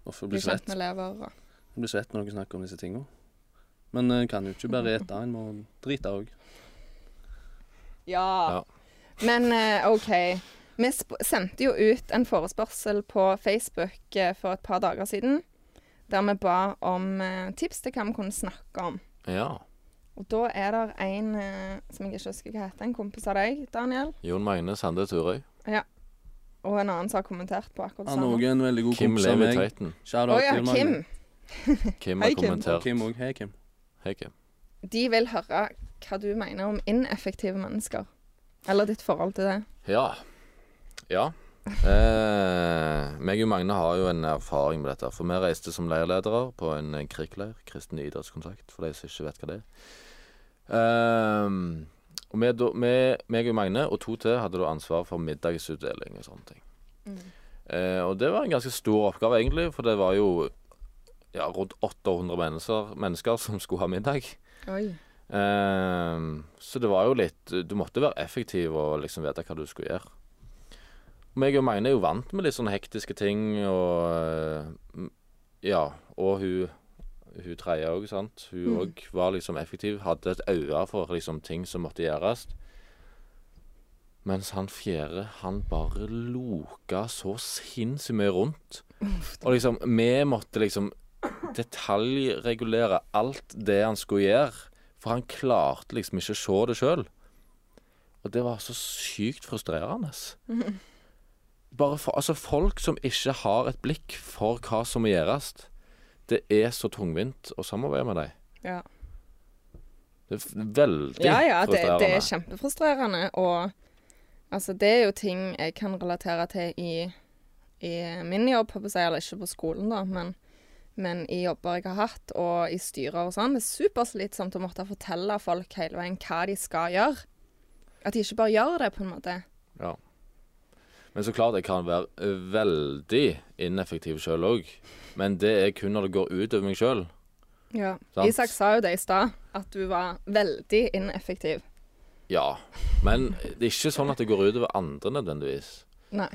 [SPEAKER 3] Uff, jeg
[SPEAKER 1] bli
[SPEAKER 3] blir svett.
[SPEAKER 1] kjent med elever og
[SPEAKER 3] Jeg blir svett når dere snakker om disse tingene. Men en kan jo ikke bare ete, en må drite òg.
[SPEAKER 1] Ja.
[SPEAKER 2] Ja.
[SPEAKER 1] Men eh, OK. Vi sp sendte jo ut en forespørsel på Facebook eh, for et par dager siden, der vi ba om eh, tips til hva vi kunne snakke om.
[SPEAKER 2] Ja.
[SPEAKER 1] Og da er det en eh, som jeg ikke husker hva heter, en kompis av deg, Daniel,
[SPEAKER 2] Jon Magne Sande Turøy.
[SPEAKER 1] og en annen som har kommentert på akkurat det
[SPEAKER 3] Han er
[SPEAKER 1] samme.
[SPEAKER 3] òg en veldig god
[SPEAKER 2] Kim
[SPEAKER 3] kompis av
[SPEAKER 2] Levi
[SPEAKER 3] meg.
[SPEAKER 2] Tveiten.
[SPEAKER 1] Å
[SPEAKER 3] Shout out
[SPEAKER 1] ja,
[SPEAKER 3] til Magne.
[SPEAKER 1] Kim.
[SPEAKER 2] Kim
[SPEAKER 1] Hei, Kim.
[SPEAKER 2] har
[SPEAKER 3] Og
[SPEAKER 2] kommentert.
[SPEAKER 3] Kim òg. Hei, Kim.
[SPEAKER 2] Hei, Kim.
[SPEAKER 1] De vil høre hva du mener om ineffektive mennesker. Eller ditt forhold til det.
[SPEAKER 2] Ja. Ja. Eh, meg og Magne har jo en erfaring med dette. For vi reiste som leirledere på en krigsleir. Kristen idrettskontakt, for de som ikke vet hva det er. Ehm, og vi, da- vi, meg og Magne og to til hadde da ansvar for middagsutdeling og sånne ting. Eh, og det var en ganske stor oppgave, egentlig, for det var jo ja, rundt 800 mennesker, mennesker som skulle ha middag.
[SPEAKER 1] Oi.
[SPEAKER 2] Ehm, så det var jo litt Du måtte være effektiv og liksom vite hva du skulle gjøre. Meg og Magne er jo vant med litt sånne hektiske ting og eh, m- Ja, og hun hun tredje òg, sant. Hun
[SPEAKER 1] Mm.
[SPEAKER 2] òg var liksom effektiv. Hadde et øye for liksom ting som måtte gjøres. Mens han fjerde, han bare loka så sinnssykt mye rundt. Og liksom, vi måtte liksom detaljregulere alt det han skulle gjøre. For han klarte liksom ikke å se det sjøl. Og det var så sykt frustrerende. Bare for, altså Folk som ikke har et blikk for hva som må gjøres, det er så tungvint sånn å samarbeide med dem.
[SPEAKER 1] Ja.
[SPEAKER 2] Det er f- veldig
[SPEAKER 1] Ja, ja, det,
[SPEAKER 2] frustrerende.
[SPEAKER 1] det er kjempefrustrerende. Og altså, det er jo ting jeg kan relatere til i, i min jobb, holdt på å si, eller ikke på skolen, da, men, men i jobber jeg har hatt, og i styrer og sånn. Det er superslitsomt å måtte fortelle folk hele veien hva de skal gjøre. At de ikke bare gjør det, på en måte.
[SPEAKER 2] Ja. Men så klart jeg kan være veldig ineffektiv sjøl òg. Men det er kun når det går ut over meg sjøl.
[SPEAKER 1] Ja.
[SPEAKER 2] Sant.
[SPEAKER 1] Isak sa jo det i stad, at du var veldig ineffektiv.
[SPEAKER 2] Ja. Men det er ikke sånn at det går ut over andre nødvendigvis.
[SPEAKER 1] Nei.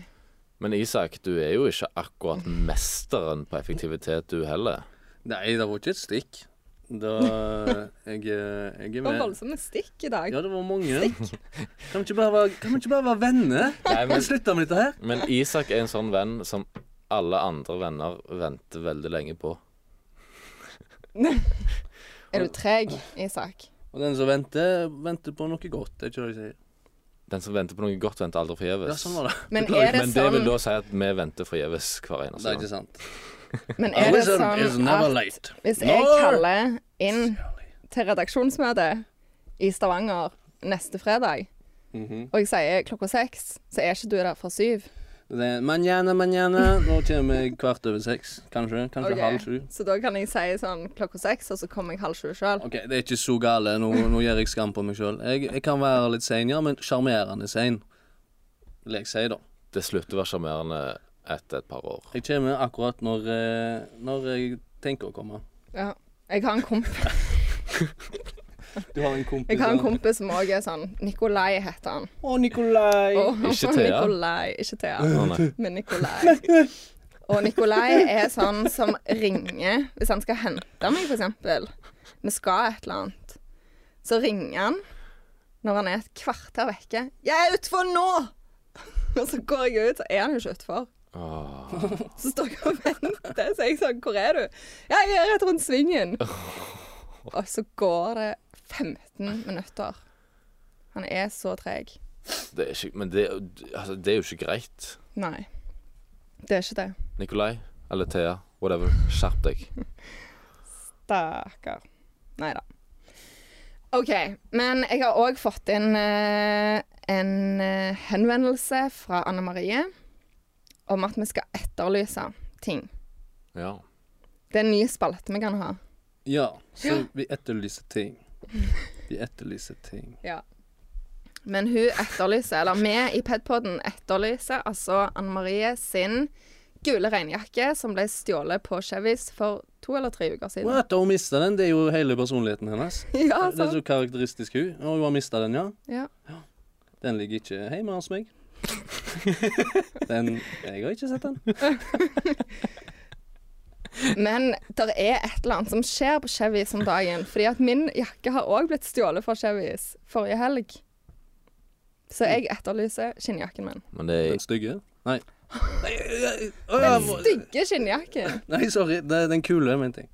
[SPEAKER 2] Men Isak, du er jo ikke akkurat mesteren på effektivitet, du heller.
[SPEAKER 3] Nei, det var ikke et stikk. Da Jeg, jeg er
[SPEAKER 1] Det var
[SPEAKER 3] med.
[SPEAKER 1] voldsomme stikk i dag.
[SPEAKER 3] Ja, det var mange. Kan vi ikke bare være, kan vi ikke bare være venner?
[SPEAKER 2] Nei, men-
[SPEAKER 3] Slutte med dette her.
[SPEAKER 2] Men Isak er en sånn venn som alle andre venner venter veldig lenge på.
[SPEAKER 1] Er du treg, Isak?
[SPEAKER 3] Og den som venter, venter på noe godt. Er ikke det de sier?
[SPEAKER 2] Den som venter på noe godt, venter aldri forgjeves.
[SPEAKER 3] Ja, sånn var det.
[SPEAKER 1] Men
[SPEAKER 3] Beklager,
[SPEAKER 1] er det
[SPEAKER 2] Men det
[SPEAKER 1] sånn
[SPEAKER 2] vil da si at vi venter forgjeves hver eneste
[SPEAKER 3] Det er
[SPEAKER 2] gang.
[SPEAKER 3] ikke sant.
[SPEAKER 1] Men er det
[SPEAKER 3] Always is
[SPEAKER 1] sånn
[SPEAKER 3] never
[SPEAKER 1] at
[SPEAKER 3] late.
[SPEAKER 1] hvis jeg
[SPEAKER 3] Når-
[SPEAKER 1] kaller inn til redaksjonsmøte i Stavanger neste fredag,
[SPEAKER 3] Mhm.
[SPEAKER 1] og jeg sier klokka seks, så er ikke du der fra syv?
[SPEAKER 3] Det er manjana, manjana. Nå kommer jeg kvart over seks. Kanskje. Kanskje
[SPEAKER 1] Ok.
[SPEAKER 3] halv sju.
[SPEAKER 1] Så da kan jeg si sånn klokka seks, og så kommer jeg halv sju sjøl.
[SPEAKER 3] OK, det er ikke så gale. Nå, nå gjør jeg skam på meg sjøl. Jeg, jeg kan være litt sein, ja, men sjarmerende sein. Vil jeg si, da.
[SPEAKER 2] Det slutter å være sjarmerende etter et par år.
[SPEAKER 3] Jeg kommer akkurat når, eh, når jeg tenker å komme.
[SPEAKER 1] Ja. Jeg har en, komp
[SPEAKER 3] Du har en kompis
[SPEAKER 1] jeg har en kompis som òg er sånn. Nikolai heter han.
[SPEAKER 3] Å, Nikolai!
[SPEAKER 1] Og,
[SPEAKER 2] Ikke
[SPEAKER 1] og
[SPEAKER 2] Thea?
[SPEAKER 1] Nikolai, ikke Thea.
[SPEAKER 2] Å, nei.
[SPEAKER 1] med Nikolai. Og Nikolai er sånn som ringer hvis han skal hente meg, f.eks. Vi skal et eller annet. Så ringer han når han er et kvarter vekke. 'Jeg er utfor nå!' Og så går jeg ut, så er han jo ikke utfor.
[SPEAKER 2] Åh.
[SPEAKER 1] Så står jeg og venter, så er jeg sånn 'Hvor er du?' 'Jeg er rett rundt svingen'. Og så går det 15 minutter. Han er så treg.
[SPEAKER 2] Det er ikke, men det, altså, det er jo ikke greit.
[SPEAKER 1] Nei. Det er ikke det.
[SPEAKER 2] Nikolai eller Thea, whatever, skjerp deg.
[SPEAKER 1] Stakkar. Nei da. OK. Men jeg har òg fått inn eh, en eh, henvendelse fra Anne Marie om at vi skal etterlyse ting.
[SPEAKER 2] Ja.
[SPEAKER 1] Det er en ny spalte vi kan ha.
[SPEAKER 3] Ja, så vi etterlyser ting. De etterlyser ting.
[SPEAKER 1] Men hun etterlyser, eller vi i Pedpodden etterlyser altså Anne Marie sin gule regnjakke som ble stjålet på Chevys for to eller tre uker siden.
[SPEAKER 3] What? Hun mista den. Det er jo hele personligheten hennes.
[SPEAKER 1] Ja,
[SPEAKER 3] Det er
[SPEAKER 1] sant?
[SPEAKER 3] så karakteristisk hun. Og hun har mista den, ja.
[SPEAKER 1] Ja.
[SPEAKER 3] Den ligger ikke hjemme hos meg. Den Jeg har ikke sett den.
[SPEAKER 1] Men det er et eller annet som skjer på Chevys om dagen. Fordi at min jakke har òg blitt stjålet fra Chevys forrige helg. Så jeg etterlyser skinnjakken min.
[SPEAKER 2] Men det er
[SPEAKER 3] Den stygge? Nei. Nei, øh, jeg- å, jeg
[SPEAKER 1] Den
[SPEAKER 3] må-
[SPEAKER 1] stygge skinnjakken.
[SPEAKER 3] øh. Nei, sorry. Det er den kule, mente jeg.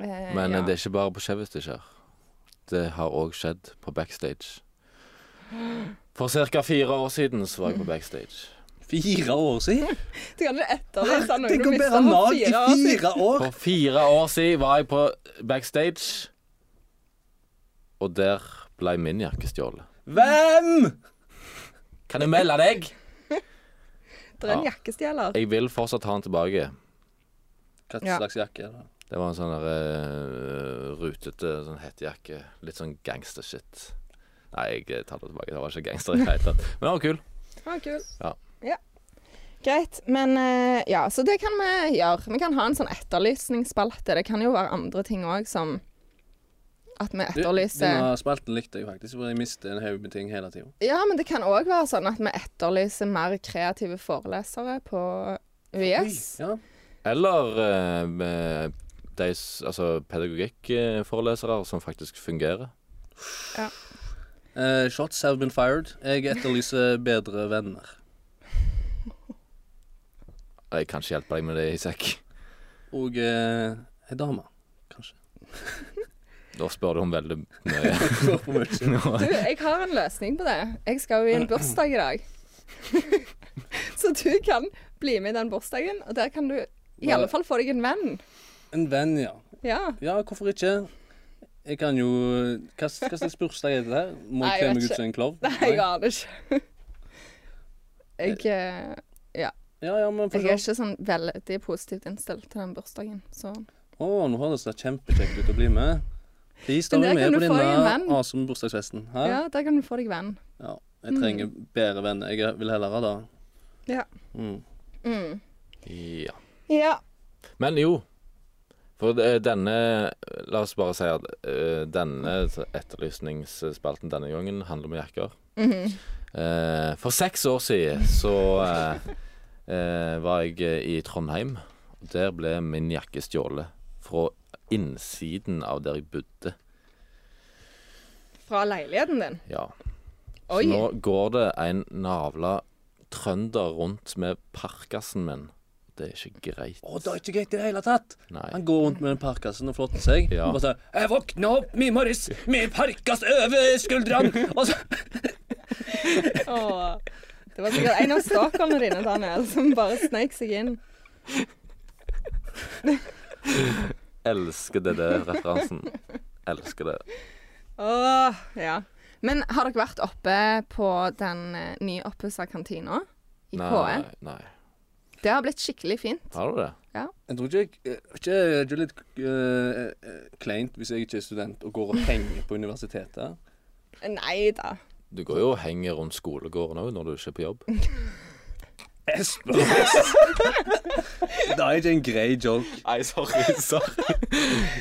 [SPEAKER 1] Eh,
[SPEAKER 2] Men
[SPEAKER 1] ja.
[SPEAKER 2] eh, det er ikke bare på Chevys det skjer. Det har òg skjedd på backstage. For ca. fire år siden så var jeg på backstage.
[SPEAKER 3] Fire år siden?
[SPEAKER 1] Du kan ikke etterlyse noe
[SPEAKER 3] Tenk
[SPEAKER 1] du
[SPEAKER 3] å
[SPEAKER 1] mistet
[SPEAKER 3] bære
[SPEAKER 1] for
[SPEAKER 3] nag i
[SPEAKER 1] fire år siden.
[SPEAKER 3] fire år!
[SPEAKER 2] For fire år siden var jeg på backstage, og der ble min jakke stjålet.
[SPEAKER 3] Hvem?
[SPEAKER 2] Kan jeg melde deg?
[SPEAKER 1] Det er en
[SPEAKER 2] Ja.
[SPEAKER 1] jakkestjeler.
[SPEAKER 2] Jeg vil fortsatt ha den tilbake.
[SPEAKER 3] Hva
[SPEAKER 1] Ja.
[SPEAKER 3] slags jakke er det?
[SPEAKER 2] Det var en sånn der, eh, rutete sånn hettejakke. Litt sånn gangstershit. Nei, jeg eh, tar det tilbake. Det var ikke gangster i det hele tatt. Men det var kul.
[SPEAKER 1] Det var Ah, kul.
[SPEAKER 2] Ja.
[SPEAKER 1] Greit. Men eh, ja, så det kan vi gjøre. Vi kan ha en sånn etterlysningsspalte. Det kan jo være andre ting òg som at vi
[SPEAKER 3] Du,
[SPEAKER 1] etterlyser
[SPEAKER 3] Denne spalten likte jeg faktisk, for jeg mister en haug med ting hele tida.
[SPEAKER 1] Ja, men det kan òg være sånn at vi etterlyser mer kreative forelesere på UiS.
[SPEAKER 3] Ja.
[SPEAKER 2] Eller eh, med de s- altså, pedagogikkforelesere som faktisk fungerer.
[SPEAKER 3] Eh, shots have been fired. Jeg etterlyser bedre venner.
[SPEAKER 2] Jeg kan ikke hjelpe deg med det, Isak.
[SPEAKER 3] Og eh, ei dame, kanskje.
[SPEAKER 2] Da spør du om veldig mye.
[SPEAKER 3] Går for mye.
[SPEAKER 1] Du, jeg har en løsning på det. Jeg skal jo i en bursdag i dag. så du kan bli med i den bursdagen, og der kan du i alle fall få deg en venn.
[SPEAKER 3] En venn, ja.
[SPEAKER 1] Ja.
[SPEAKER 3] Ja, hvorfor ikke? Jeg kan jo Hva hva slags bursdag er det her? Må
[SPEAKER 1] Nei,
[SPEAKER 3] jeg
[SPEAKER 1] jeg
[SPEAKER 3] kle
[SPEAKER 1] vet
[SPEAKER 3] meg ut
[SPEAKER 1] ikke.
[SPEAKER 3] som en klovn?
[SPEAKER 1] Nei, jeg aner ikke. Jeg, eh,
[SPEAKER 3] Ja, ja, men for
[SPEAKER 1] jeg er
[SPEAKER 3] så
[SPEAKER 1] ikke sånn veldig positivt innstilt til den bursdagen. Så.
[SPEAKER 3] Å, nå høres det kjempekjekt ut å bli med. Please, da
[SPEAKER 1] Men
[SPEAKER 3] er vi
[SPEAKER 1] der kan du
[SPEAKER 3] med på
[SPEAKER 1] få deg en
[SPEAKER 3] denne
[SPEAKER 1] venn.
[SPEAKER 3] awesome bursdagsfesten. Hæ?
[SPEAKER 1] Ja, Mm. der kan du få deg venn.
[SPEAKER 3] Ja, jeg trenger bedre venner. Jeg vil heller ha det.
[SPEAKER 1] Ja.
[SPEAKER 3] Mm.
[SPEAKER 1] Mm.
[SPEAKER 2] Ja.
[SPEAKER 1] Ja.
[SPEAKER 2] Men jo. For det- denne La oss bare si at eh, denne etterlysningsspalten denne gangen handler om jakker.
[SPEAKER 1] Mhm.
[SPEAKER 2] Eh, for seks år siden så eh, eh, var jeg eh, i Trondheim. Og der ble min jakke stjålet fra innsiden av der jeg bodde.
[SPEAKER 1] Fra leiligheten din.
[SPEAKER 2] Ja. Så
[SPEAKER 1] Oi.
[SPEAKER 2] nå går det en navla trønder rundt med parkasen min. Det er ikke greit.
[SPEAKER 3] Å, det er ikke greit i det hele tatt!
[SPEAKER 2] Nei.
[SPEAKER 3] Han går rundt med den parkasen og flotter seg.
[SPEAKER 2] Ja.
[SPEAKER 3] Og bare sånn 'Jeg våkna opp i morges med parkas over skuldrene!' Og så
[SPEAKER 1] Åh. Det var sikkert en av stalkerne dine, Daniel, som bare sneik seg inn.
[SPEAKER 2] Elsker det der referansen. Elsker det.
[SPEAKER 1] Åh, ja. Men har dere vært oppe på den eh, nyoppussa kantina i KE?
[SPEAKER 2] nei.
[SPEAKER 1] Det har blitt skikkelig fint.
[SPEAKER 2] Har du det?
[SPEAKER 3] Jeg tror ikke jeg eh, ikke, Det er jo litt eh, eh, kleint hvis jeg ikke er student og går og henger på universitetet.
[SPEAKER 1] Nei da.
[SPEAKER 2] Du går jo og henger rundt skolegården òg når du ikke er på jobb.
[SPEAKER 3] Jeg spør Det er ikke en grei joke.
[SPEAKER 2] Nei, sorry. Sorry.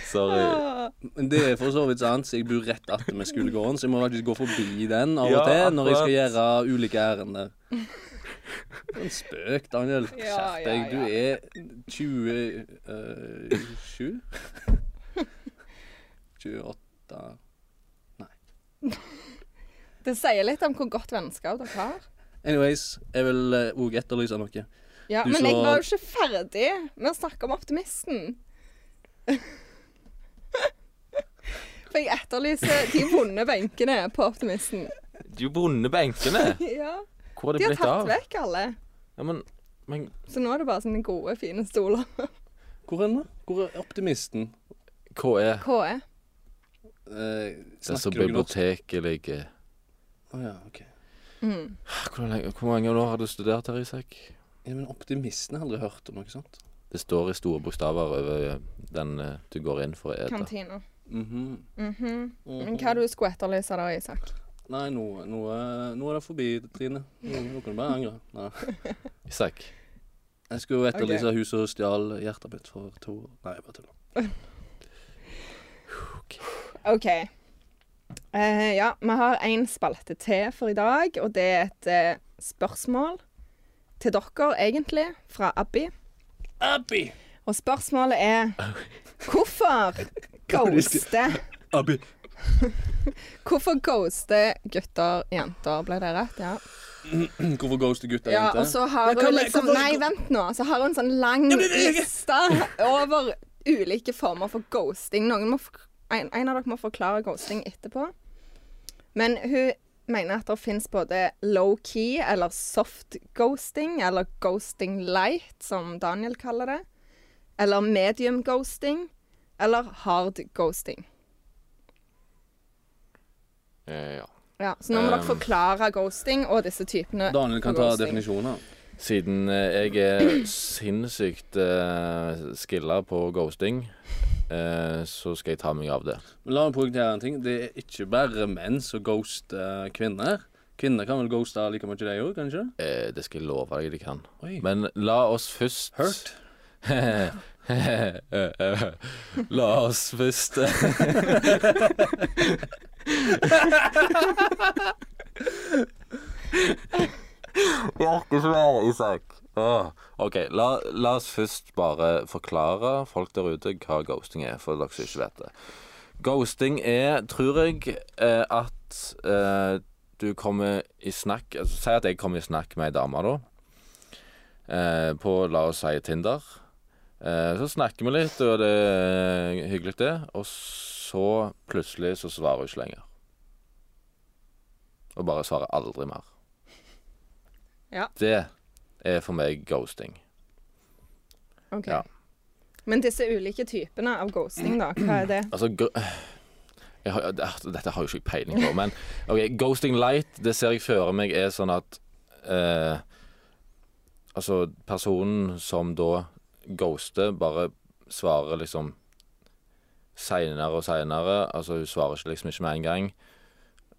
[SPEAKER 2] sorry.
[SPEAKER 1] Ah.
[SPEAKER 3] Men det er for så vidt sant, så jeg bor rett attmed skolegården, så jeg må faktisk gå forbi den av og
[SPEAKER 2] Ja,
[SPEAKER 3] til når jeg
[SPEAKER 2] akkurat.
[SPEAKER 3] skal gjøre ulike ærender. Det er En spøk, Daniel.
[SPEAKER 1] Ja,
[SPEAKER 3] Skjerp
[SPEAKER 1] ja,
[SPEAKER 3] deg. Du
[SPEAKER 1] ja.
[SPEAKER 3] er eh, 27? 28
[SPEAKER 1] Det sier litt om hvor godt vennskap dere har.
[SPEAKER 3] Anyways, jeg vil òg etterlyse noe.
[SPEAKER 1] Ja,
[SPEAKER 3] Du
[SPEAKER 1] men
[SPEAKER 3] så-
[SPEAKER 1] jeg var jo ikke ferdig med å snakke om optimisten. For jeg etterlyser de vonde benkene på optimisten.
[SPEAKER 2] De vonde benkene.
[SPEAKER 1] Ja,
[SPEAKER 2] Hvor er
[SPEAKER 1] De
[SPEAKER 2] de
[SPEAKER 1] har
[SPEAKER 2] blitt
[SPEAKER 1] tatt
[SPEAKER 2] av?
[SPEAKER 1] vekk alle.
[SPEAKER 2] Ja, men, men
[SPEAKER 1] Så nå er det bare sånne gode, fine stoler.
[SPEAKER 3] Hvor er den, da? Hvor er optimisten?
[SPEAKER 2] KE.
[SPEAKER 1] KE.
[SPEAKER 3] Eh,
[SPEAKER 2] E. Det er så
[SPEAKER 3] dere norsk?
[SPEAKER 2] biblioteket ligger Ah,
[SPEAKER 3] Å ja, ok.
[SPEAKER 1] Mm.
[SPEAKER 2] Hvor, lenge, hvor mange år har du studert her, Isak?
[SPEAKER 3] Ja, men optimisten har jeg aldri hørt om noe sånt.
[SPEAKER 2] Det står i store bokstaver over den eh, du går inn for å ete.
[SPEAKER 1] Kantina.
[SPEAKER 3] Mhm.
[SPEAKER 1] Mhm. Men
[SPEAKER 3] Mhm.
[SPEAKER 1] hva du skulle etterlyse da, Isak?
[SPEAKER 3] Nei, nå, nå, er- nå er det forbi, Trine. Nå, nå kan du bare angre. Nei.
[SPEAKER 2] Isak.
[SPEAKER 3] Jeg skulle etterlyse hun som stjal hjertet mitt for to år Nei, jeg bare tuller.
[SPEAKER 1] OK. Eh, ja, vi har én spalte til for i dag, og det er et eh, spørsmål til dere, egentlig, fra Abbi.
[SPEAKER 3] Abbi!
[SPEAKER 1] Og spørsmålet er Hvorfor ghoste
[SPEAKER 3] Abbi.
[SPEAKER 1] Hvorfor ghoste gutter jenter? Ble det rett? Ja.
[SPEAKER 3] Hvorfor ghoster gutter
[SPEAKER 1] ja
[SPEAKER 3] jenter?
[SPEAKER 1] og så har
[SPEAKER 3] Men hva
[SPEAKER 1] hun
[SPEAKER 3] med-
[SPEAKER 1] liksom
[SPEAKER 3] hvorfor-
[SPEAKER 1] Nei, vent nå. Så har hun sånn lang
[SPEAKER 3] Ja, men-
[SPEAKER 1] liste over ulike former for ghosting. Noen må, f- en, en av dere må forklare ghosting etterpå. Men hun mener at det fins både low-key eller soft ghosting, eller ghosting light, som Daniel kaller det. Eller medium ghosting. Eller hard ghosting.
[SPEAKER 2] Eh, ja.
[SPEAKER 1] Ja, så nå må dere
[SPEAKER 2] Um,
[SPEAKER 1] forklare ghosting og disse typene.
[SPEAKER 3] Ehm. Daniel kan
[SPEAKER 1] for
[SPEAKER 3] ta
[SPEAKER 1] ghosting.
[SPEAKER 3] definisjoner.
[SPEAKER 2] Siden eh, jeg er sinnssykt uh, skilla på ghosting, eh, så skal jeg ta meg av det.
[SPEAKER 3] Men la meg poengtere en ting. Det er ikke bare menn som ghoster kvinner. Kvinner kan vel ghoste like mye, de òg, kanskje?
[SPEAKER 2] Eh, det skal jeg love deg de kan.
[SPEAKER 3] Oi.
[SPEAKER 2] Men la oss først
[SPEAKER 3] Hurt.
[SPEAKER 2] La oss først Jeg orker ikke mer, Isak. Åh. OK, la, la oss først bare forklare folk der ute hva ghosting er, for dere som ikke vet det. Ghosting er, tror jeg, eh, at eh, du kommer i snakk altså, Si at jeg kommer i snakk med ei dame, da. Eh, på, la oss si, Tinder. Eh, så snakker vi litt, og det er hyggelig, det. Og så plutselig så svarer hun ikke lenger. Og bare svarer aldri mer.
[SPEAKER 1] Ja.
[SPEAKER 2] Det er for meg ghosting.
[SPEAKER 1] Ok.
[SPEAKER 2] Ja.
[SPEAKER 1] Men disse ulike typene av ghosting, da, hva er det?
[SPEAKER 2] Altså go jeg har, det- Dette har jo ikke jeg peiling på, men ok, Ghosting Light, det ser jeg for meg er sånn at eh, Altså, personen som da ghoster, bare svarer liksom seinere og seinere. Altså, hun svarer ikke liksom ikke med en gang.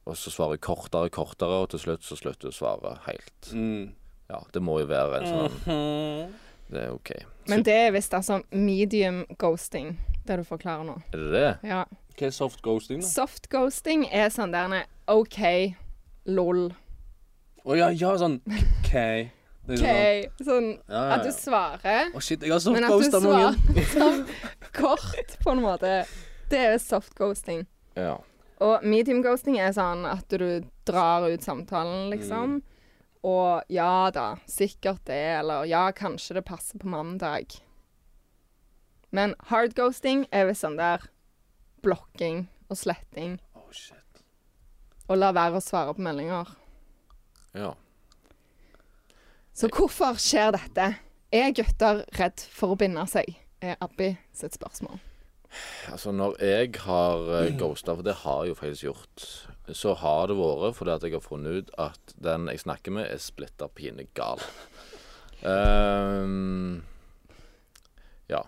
[SPEAKER 2] Og så svarer hun kortere og kortere, og til slutt så slutter hun å svare helt.
[SPEAKER 3] Mm.
[SPEAKER 2] Ja, det må jo være en sånn Det er OK.
[SPEAKER 1] Men det er visst altså medium ghosting, det du forklarer nå.
[SPEAKER 2] Er det det?
[SPEAKER 1] Ja.
[SPEAKER 3] Hva er soft ghosting, da?
[SPEAKER 1] Soft ghosting er sånn der nei, OK, lol,
[SPEAKER 3] Å ja, ja, sånn OK. Det
[SPEAKER 1] OK.
[SPEAKER 3] er sånn-
[SPEAKER 1] Sånn
[SPEAKER 3] Ja, ja,
[SPEAKER 1] at du
[SPEAKER 3] ja.
[SPEAKER 1] svarer,
[SPEAKER 3] Å shit, jeg har soft
[SPEAKER 1] men at du
[SPEAKER 3] ghosta mange.
[SPEAKER 1] svarer sånn kort, på en måte. Det er soft ghosting.
[SPEAKER 2] Ja.
[SPEAKER 1] Og medium ghosting er sånn at du drar ut samtalen, liksom.
[SPEAKER 2] Mm.
[SPEAKER 1] Og ja da, sikkert det, eller ja, kanskje det passer på mandag. Men hard ghosting er visst sånn der blokking og sletting
[SPEAKER 3] Å shit.
[SPEAKER 1] og la være å svare på meldinger.
[SPEAKER 2] ja.
[SPEAKER 1] Så hvorfor skjer dette? Er gutter redd for å binde seg? Er Abbi sitt spørsmål.
[SPEAKER 2] Altså, når jeg har eh, ghosta, for det har jeg jo faktisk gjort, så har det vært fordi at jeg har funnet ut at den jeg snakker med, er splitter pine gal. Ehm, ja.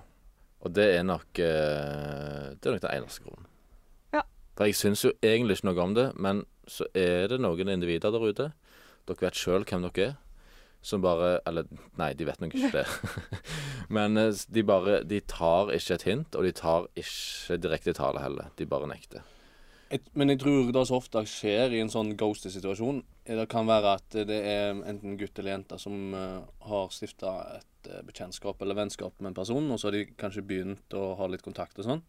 [SPEAKER 2] Og det er nok eh, Det er nok den eneste grunnen.
[SPEAKER 1] Ja.
[SPEAKER 2] For jeg syns jo egentlig ikke noe om det, men så er det noen individer der ute Dere vet sjøl hvem dere er. Som bare Eller nei, de vet nok ikke det. Men eh, de bare De tar ikke et hint, og de tar ikke direkte tale heller. De bare nekter.
[SPEAKER 3] Et, men jeg tror det som ofte skjer i en sånn ghost-situasjon, er det kan være at det er enten gutt eller jente som eh, har stifta et eh, bekjentskap eller vennskap med en person, og så har de kanskje begynt å ha litt kontakt og sånn.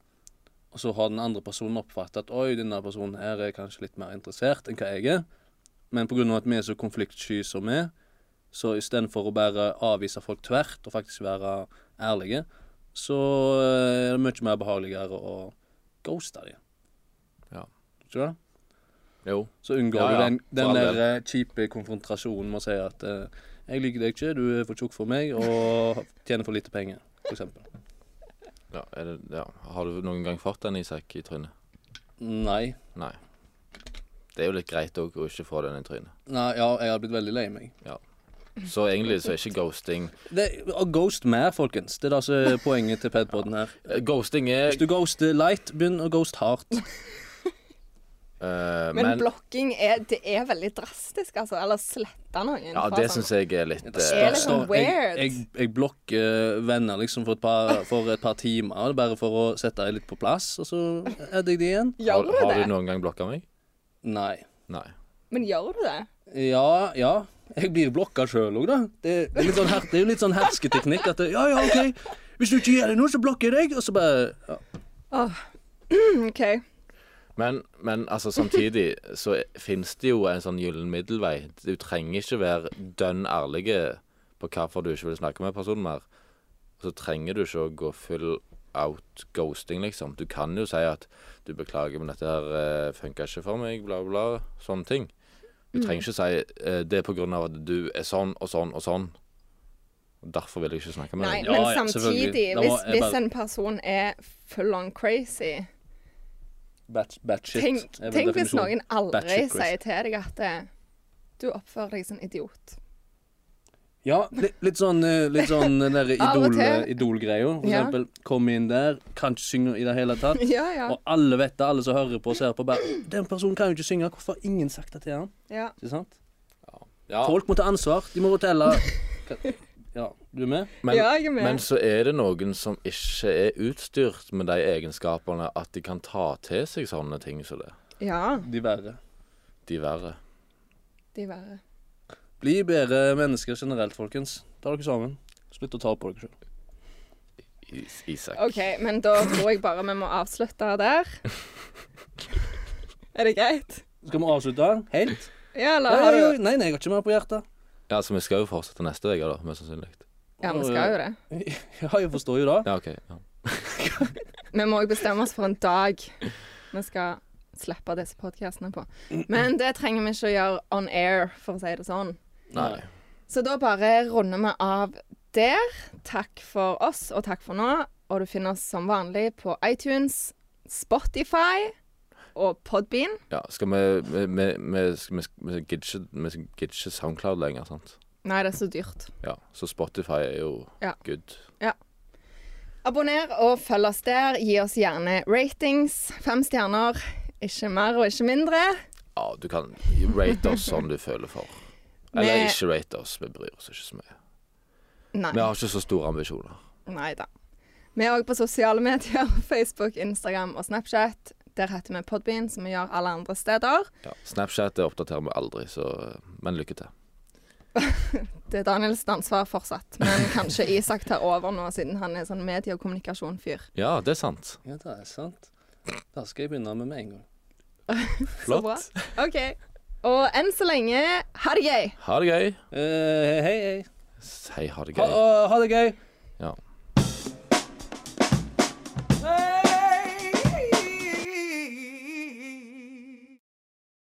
[SPEAKER 3] Og så har den andre personen oppfattet at oi, denne personen her er kanskje litt mer interessert enn hva jeg er. Men pga. at vi er så konfliktsky som vi er, så istedenfor å bare avvise folk tvert, og faktisk være ærlige, så eh, er det mye mer behageligere å ghoste dem.
[SPEAKER 2] Ja.
[SPEAKER 3] Tror du det?
[SPEAKER 2] Jo.
[SPEAKER 3] Så unngår
[SPEAKER 2] Ja, ja,
[SPEAKER 3] du den,
[SPEAKER 2] for
[SPEAKER 3] den
[SPEAKER 2] all
[SPEAKER 3] der eh, kjipe konfrontasjonen med å si at eh, 'jeg liker deg ikke, du er for tjukk for meg og tjener for lite penger', for eksempel.
[SPEAKER 2] Ja, er det, ja. Har du noen gang fått den, Isak, i trynet?
[SPEAKER 3] Nei.
[SPEAKER 2] Nei. Det er jo litt greit òg å ikke få den i trynet.
[SPEAKER 3] Nei, ja, jeg har blitt veldig lei meg.
[SPEAKER 2] Ja. Så egentlig så er ikke ghosting
[SPEAKER 3] Det, og ghost mer, folkens. Det er det som er poenget til Pedpoden her.
[SPEAKER 2] Eh, Ghosting er
[SPEAKER 3] Hvis du ghoster light, begynn å ghost hardt.
[SPEAKER 2] eh,
[SPEAKER 1] Men,
[SPEAKER 2] Men
[SPEAKER 1] blokking er, det er veldig drastisk, altså. Eller slette noen. sånn.
[SPEAKER 2] ja, det syns jeg er litt
[SPEAKER 3] Det
[SPEAKER 1] er
[SPEAKER 2] eh,
[SPEAKER 1] litt sånn
[SPEAKER 3] står- jeg,
[SPEAKER 1] weird.
[SPEAKER 3] jeg, jeg blokker venner liksom for et par, for et par timer, bare for å sette dem litt på plass, og så adder jeg de igjen.
[SPEAKER 1] Gjør
[SPEAKER 2] har,
[SPEAKER 1] du
[SPEAKER 2] har
[SPEAKER 1] det?
[SPEAKER 2] du noen gang blokka meg?
[SPEAKER 3] Nei.
[SPEAKER 2] Nei.
[SPEAKER 1] Men gjør du det?
[SPEAKER 3] Ja, ja. Jeg blir blokka sjøl òg, da. Det, det, er litt sånn her, det er jo litt sånn hersketeknikk. At det, ja, ja, OK. Hvis du ikke gjør det nå, så blokker jeg deg. Og så bare ja.
[SPEAKER 1] Åh. Mm, OK.
[SPEAKER 2] Men, men altså, samtidig så fins det jo en sånn gyllen middelvei. Du trenger ikke være dønn ærlig på hvorfor du ikke vil snakke med personen mer. Så trenger du ikke å gå full out ghosting, liksom. Du kan jo si at 'du beklager, men dette her eh, funka ikke for meg', bla, bla, bla. Sånne ting. Du trenger ikke si eh, 'det er på grunn av at du er sånn og sånn og sånn'. Og Derfor vil jeg ikke snakke med
[SPEAKER 1] Nei,
[SPEAKER 2] deg.
[SPEAKER 3] Ja,
[SPEAKER 1] men
[SPEAKER 3] ja,
[SPEAKER 1] samtidig,
[SPEAKER 3] selvfølgelig. Da må
[SPEAKER 1] hvis,
[SPEAKER 3] jeg
[SPEAKER 1] hvis
[SPEAKER 3] bare-
[SPEAKER 1] en person er full on crazy
[SPEAKER 3] Batch, batch shit.
[SPEAKER 1] Tenk,
[SPEAKER 3] er vel
[SPEAKER 1] tenk hvis
[SPEAKER 3] definisjonen.
[SPEAKER 1] noen aldri
[SPEAKER 3] Batshit crazy.
[SPEAKER 1] sier til deg at eh, du oppfører deg som en idiot.
[SPEAKER 3] Ja, litt, litt sånn, eh, litt sånn den der
[SPEAKER 1] Av og
[SPEAKER 3] idol, eh,
[SPEAKER 1] til.
[SPEAKER 3] idolgreia. For
[SPEAKER 1] Ja.
[SPEAKER 3] eksempel, kom inn der, kan ikke synge i det hele tatt.
[SPEAKER 1] Ja, ja.
[SPEAKER 3] Og alle vet det, alle som hører på og ser på, bare 'Den personen kan jo ikke synge, hvorfor har ingen sagt det til han?'
[SPEAKER 1] ja.
[SPEAKER 3] Ikke sant?
[SPEAKER 2] Ja,
[SPEAKER 3] Folk må ta ansvar. De må fortelle Hva- Ja, du er med?
[SPEAKER 2] men,
[SPEAKER 1] Ja, jeg er med.
[SPEAKER 2] Men så er det noen som ikke er utstyrt med de egenskapene at de kan ta til seg sånne ting som det.
[SPEAKER 1] ja
[SPEAKER 3] De verre.
[SPEAKER 2] De verre.
[SPEAKER 1] de verre.
[SPEAKER 3] Bli bedre mennesker generelt, folkens. Ta dere sammen. Slutt å ta på dere sjøl.
[SPEAKER 2] Is Isak.
[SPEAKER 1] OK, men da tror jeg bare vi må avslutte der. Er det greit?
[SPEAKER 3] Skal vi avslutte helt?
[SPEAKER 1] Ja, eller har
[SPEAKER 3] Nei,
[SPEAKER 1] du
[SPEAKER 3] nei, nei, jeg har ikke mer på hjertet.
[SPEAKER 2] Ja, så vi skal jo fortsette neste uke, da, mest sannsynlig.
[SPEAKER 1] Ja, vi skal jo det.
[SPEAKER 3] Ja, jeg forstår jo det.
[SPEAKER 2] Ja, OK. Ja.
[SPEAKER 1] Vi må òg bestemme oss for en dag vi skal slippe disse podkastene på. Men det trenger vi ikke å gjøre on air, for å si det sånn.
[SPEAKER 2] Nei.
[SPEAKER 1] Så da bare runder vi av der. Takk for oss, og takk for nå. Og du finner oss som vanlig på iTunes, Spotify og Podbean.
[SPEAKER 2] Ja, skal vi Vi, vi, vi, skal- vi, vi gidder ikke- vi gidder ikke SoundCloud lenger, sant?
[SPEAKER 1] Nei, det er så dyrt.
[SPEAKER 2] Ja, så Spotify er jo
[SPEAKER 1] Ja.
[SPEAKER 2] good.
[SPEAKER 1] Abonner og følg oss der. Gi oss gjerne ratings. Fem stjerner. Ikke mer og ikke mindre.
[SPEAKER 2] Ja, du kan rate oss som du føler for.
[SPEAKER 1] Vi-
[SPEAKER 2] Eller ikke rate oss, vi bryr oss ikke så mye.
[SPEAKER 1] Nei.
[SPEAKER 2] Vi har ikke så store ambisjoner.
[SPEAKER 1] Nei da. Vi er òg på sosiale medier. Facebook, Instagram og Snapchat. Der heter vi Podbean, som vi gjør alle andre steder.
[SPEAKER 2] Ja. Snapchat det oppdaterer vi aldri, så Men lykke til.
[SPEAKER 1] Det er eh, Daniels ansvar fortsatt, men kanskje Isak tar over nå, siden han er sånn medie- og kommunikasjonfyr.
[SPEAKER 2] Ja, det er sant.
[SPEAKER 3] Ja, det er sant. Da skal jeg begynne med med en gang.
[SPEAKER 1] Så bra.
[SPEAKER 2] Flott.
[SPEAKER 1] OK. Og enn så lenge, ha det gøy!
[SPEAKER 2] Ha det gøy.
[SPEAKER 3] Eh, hei, hei.
[SPEAKER 2] Si ha det
[SPEAKER 3] Ha,
[SPEAKER 2] gøy.
[SPEAKER 3] å, ha det gøy.
[SPEAKER 2] Ja.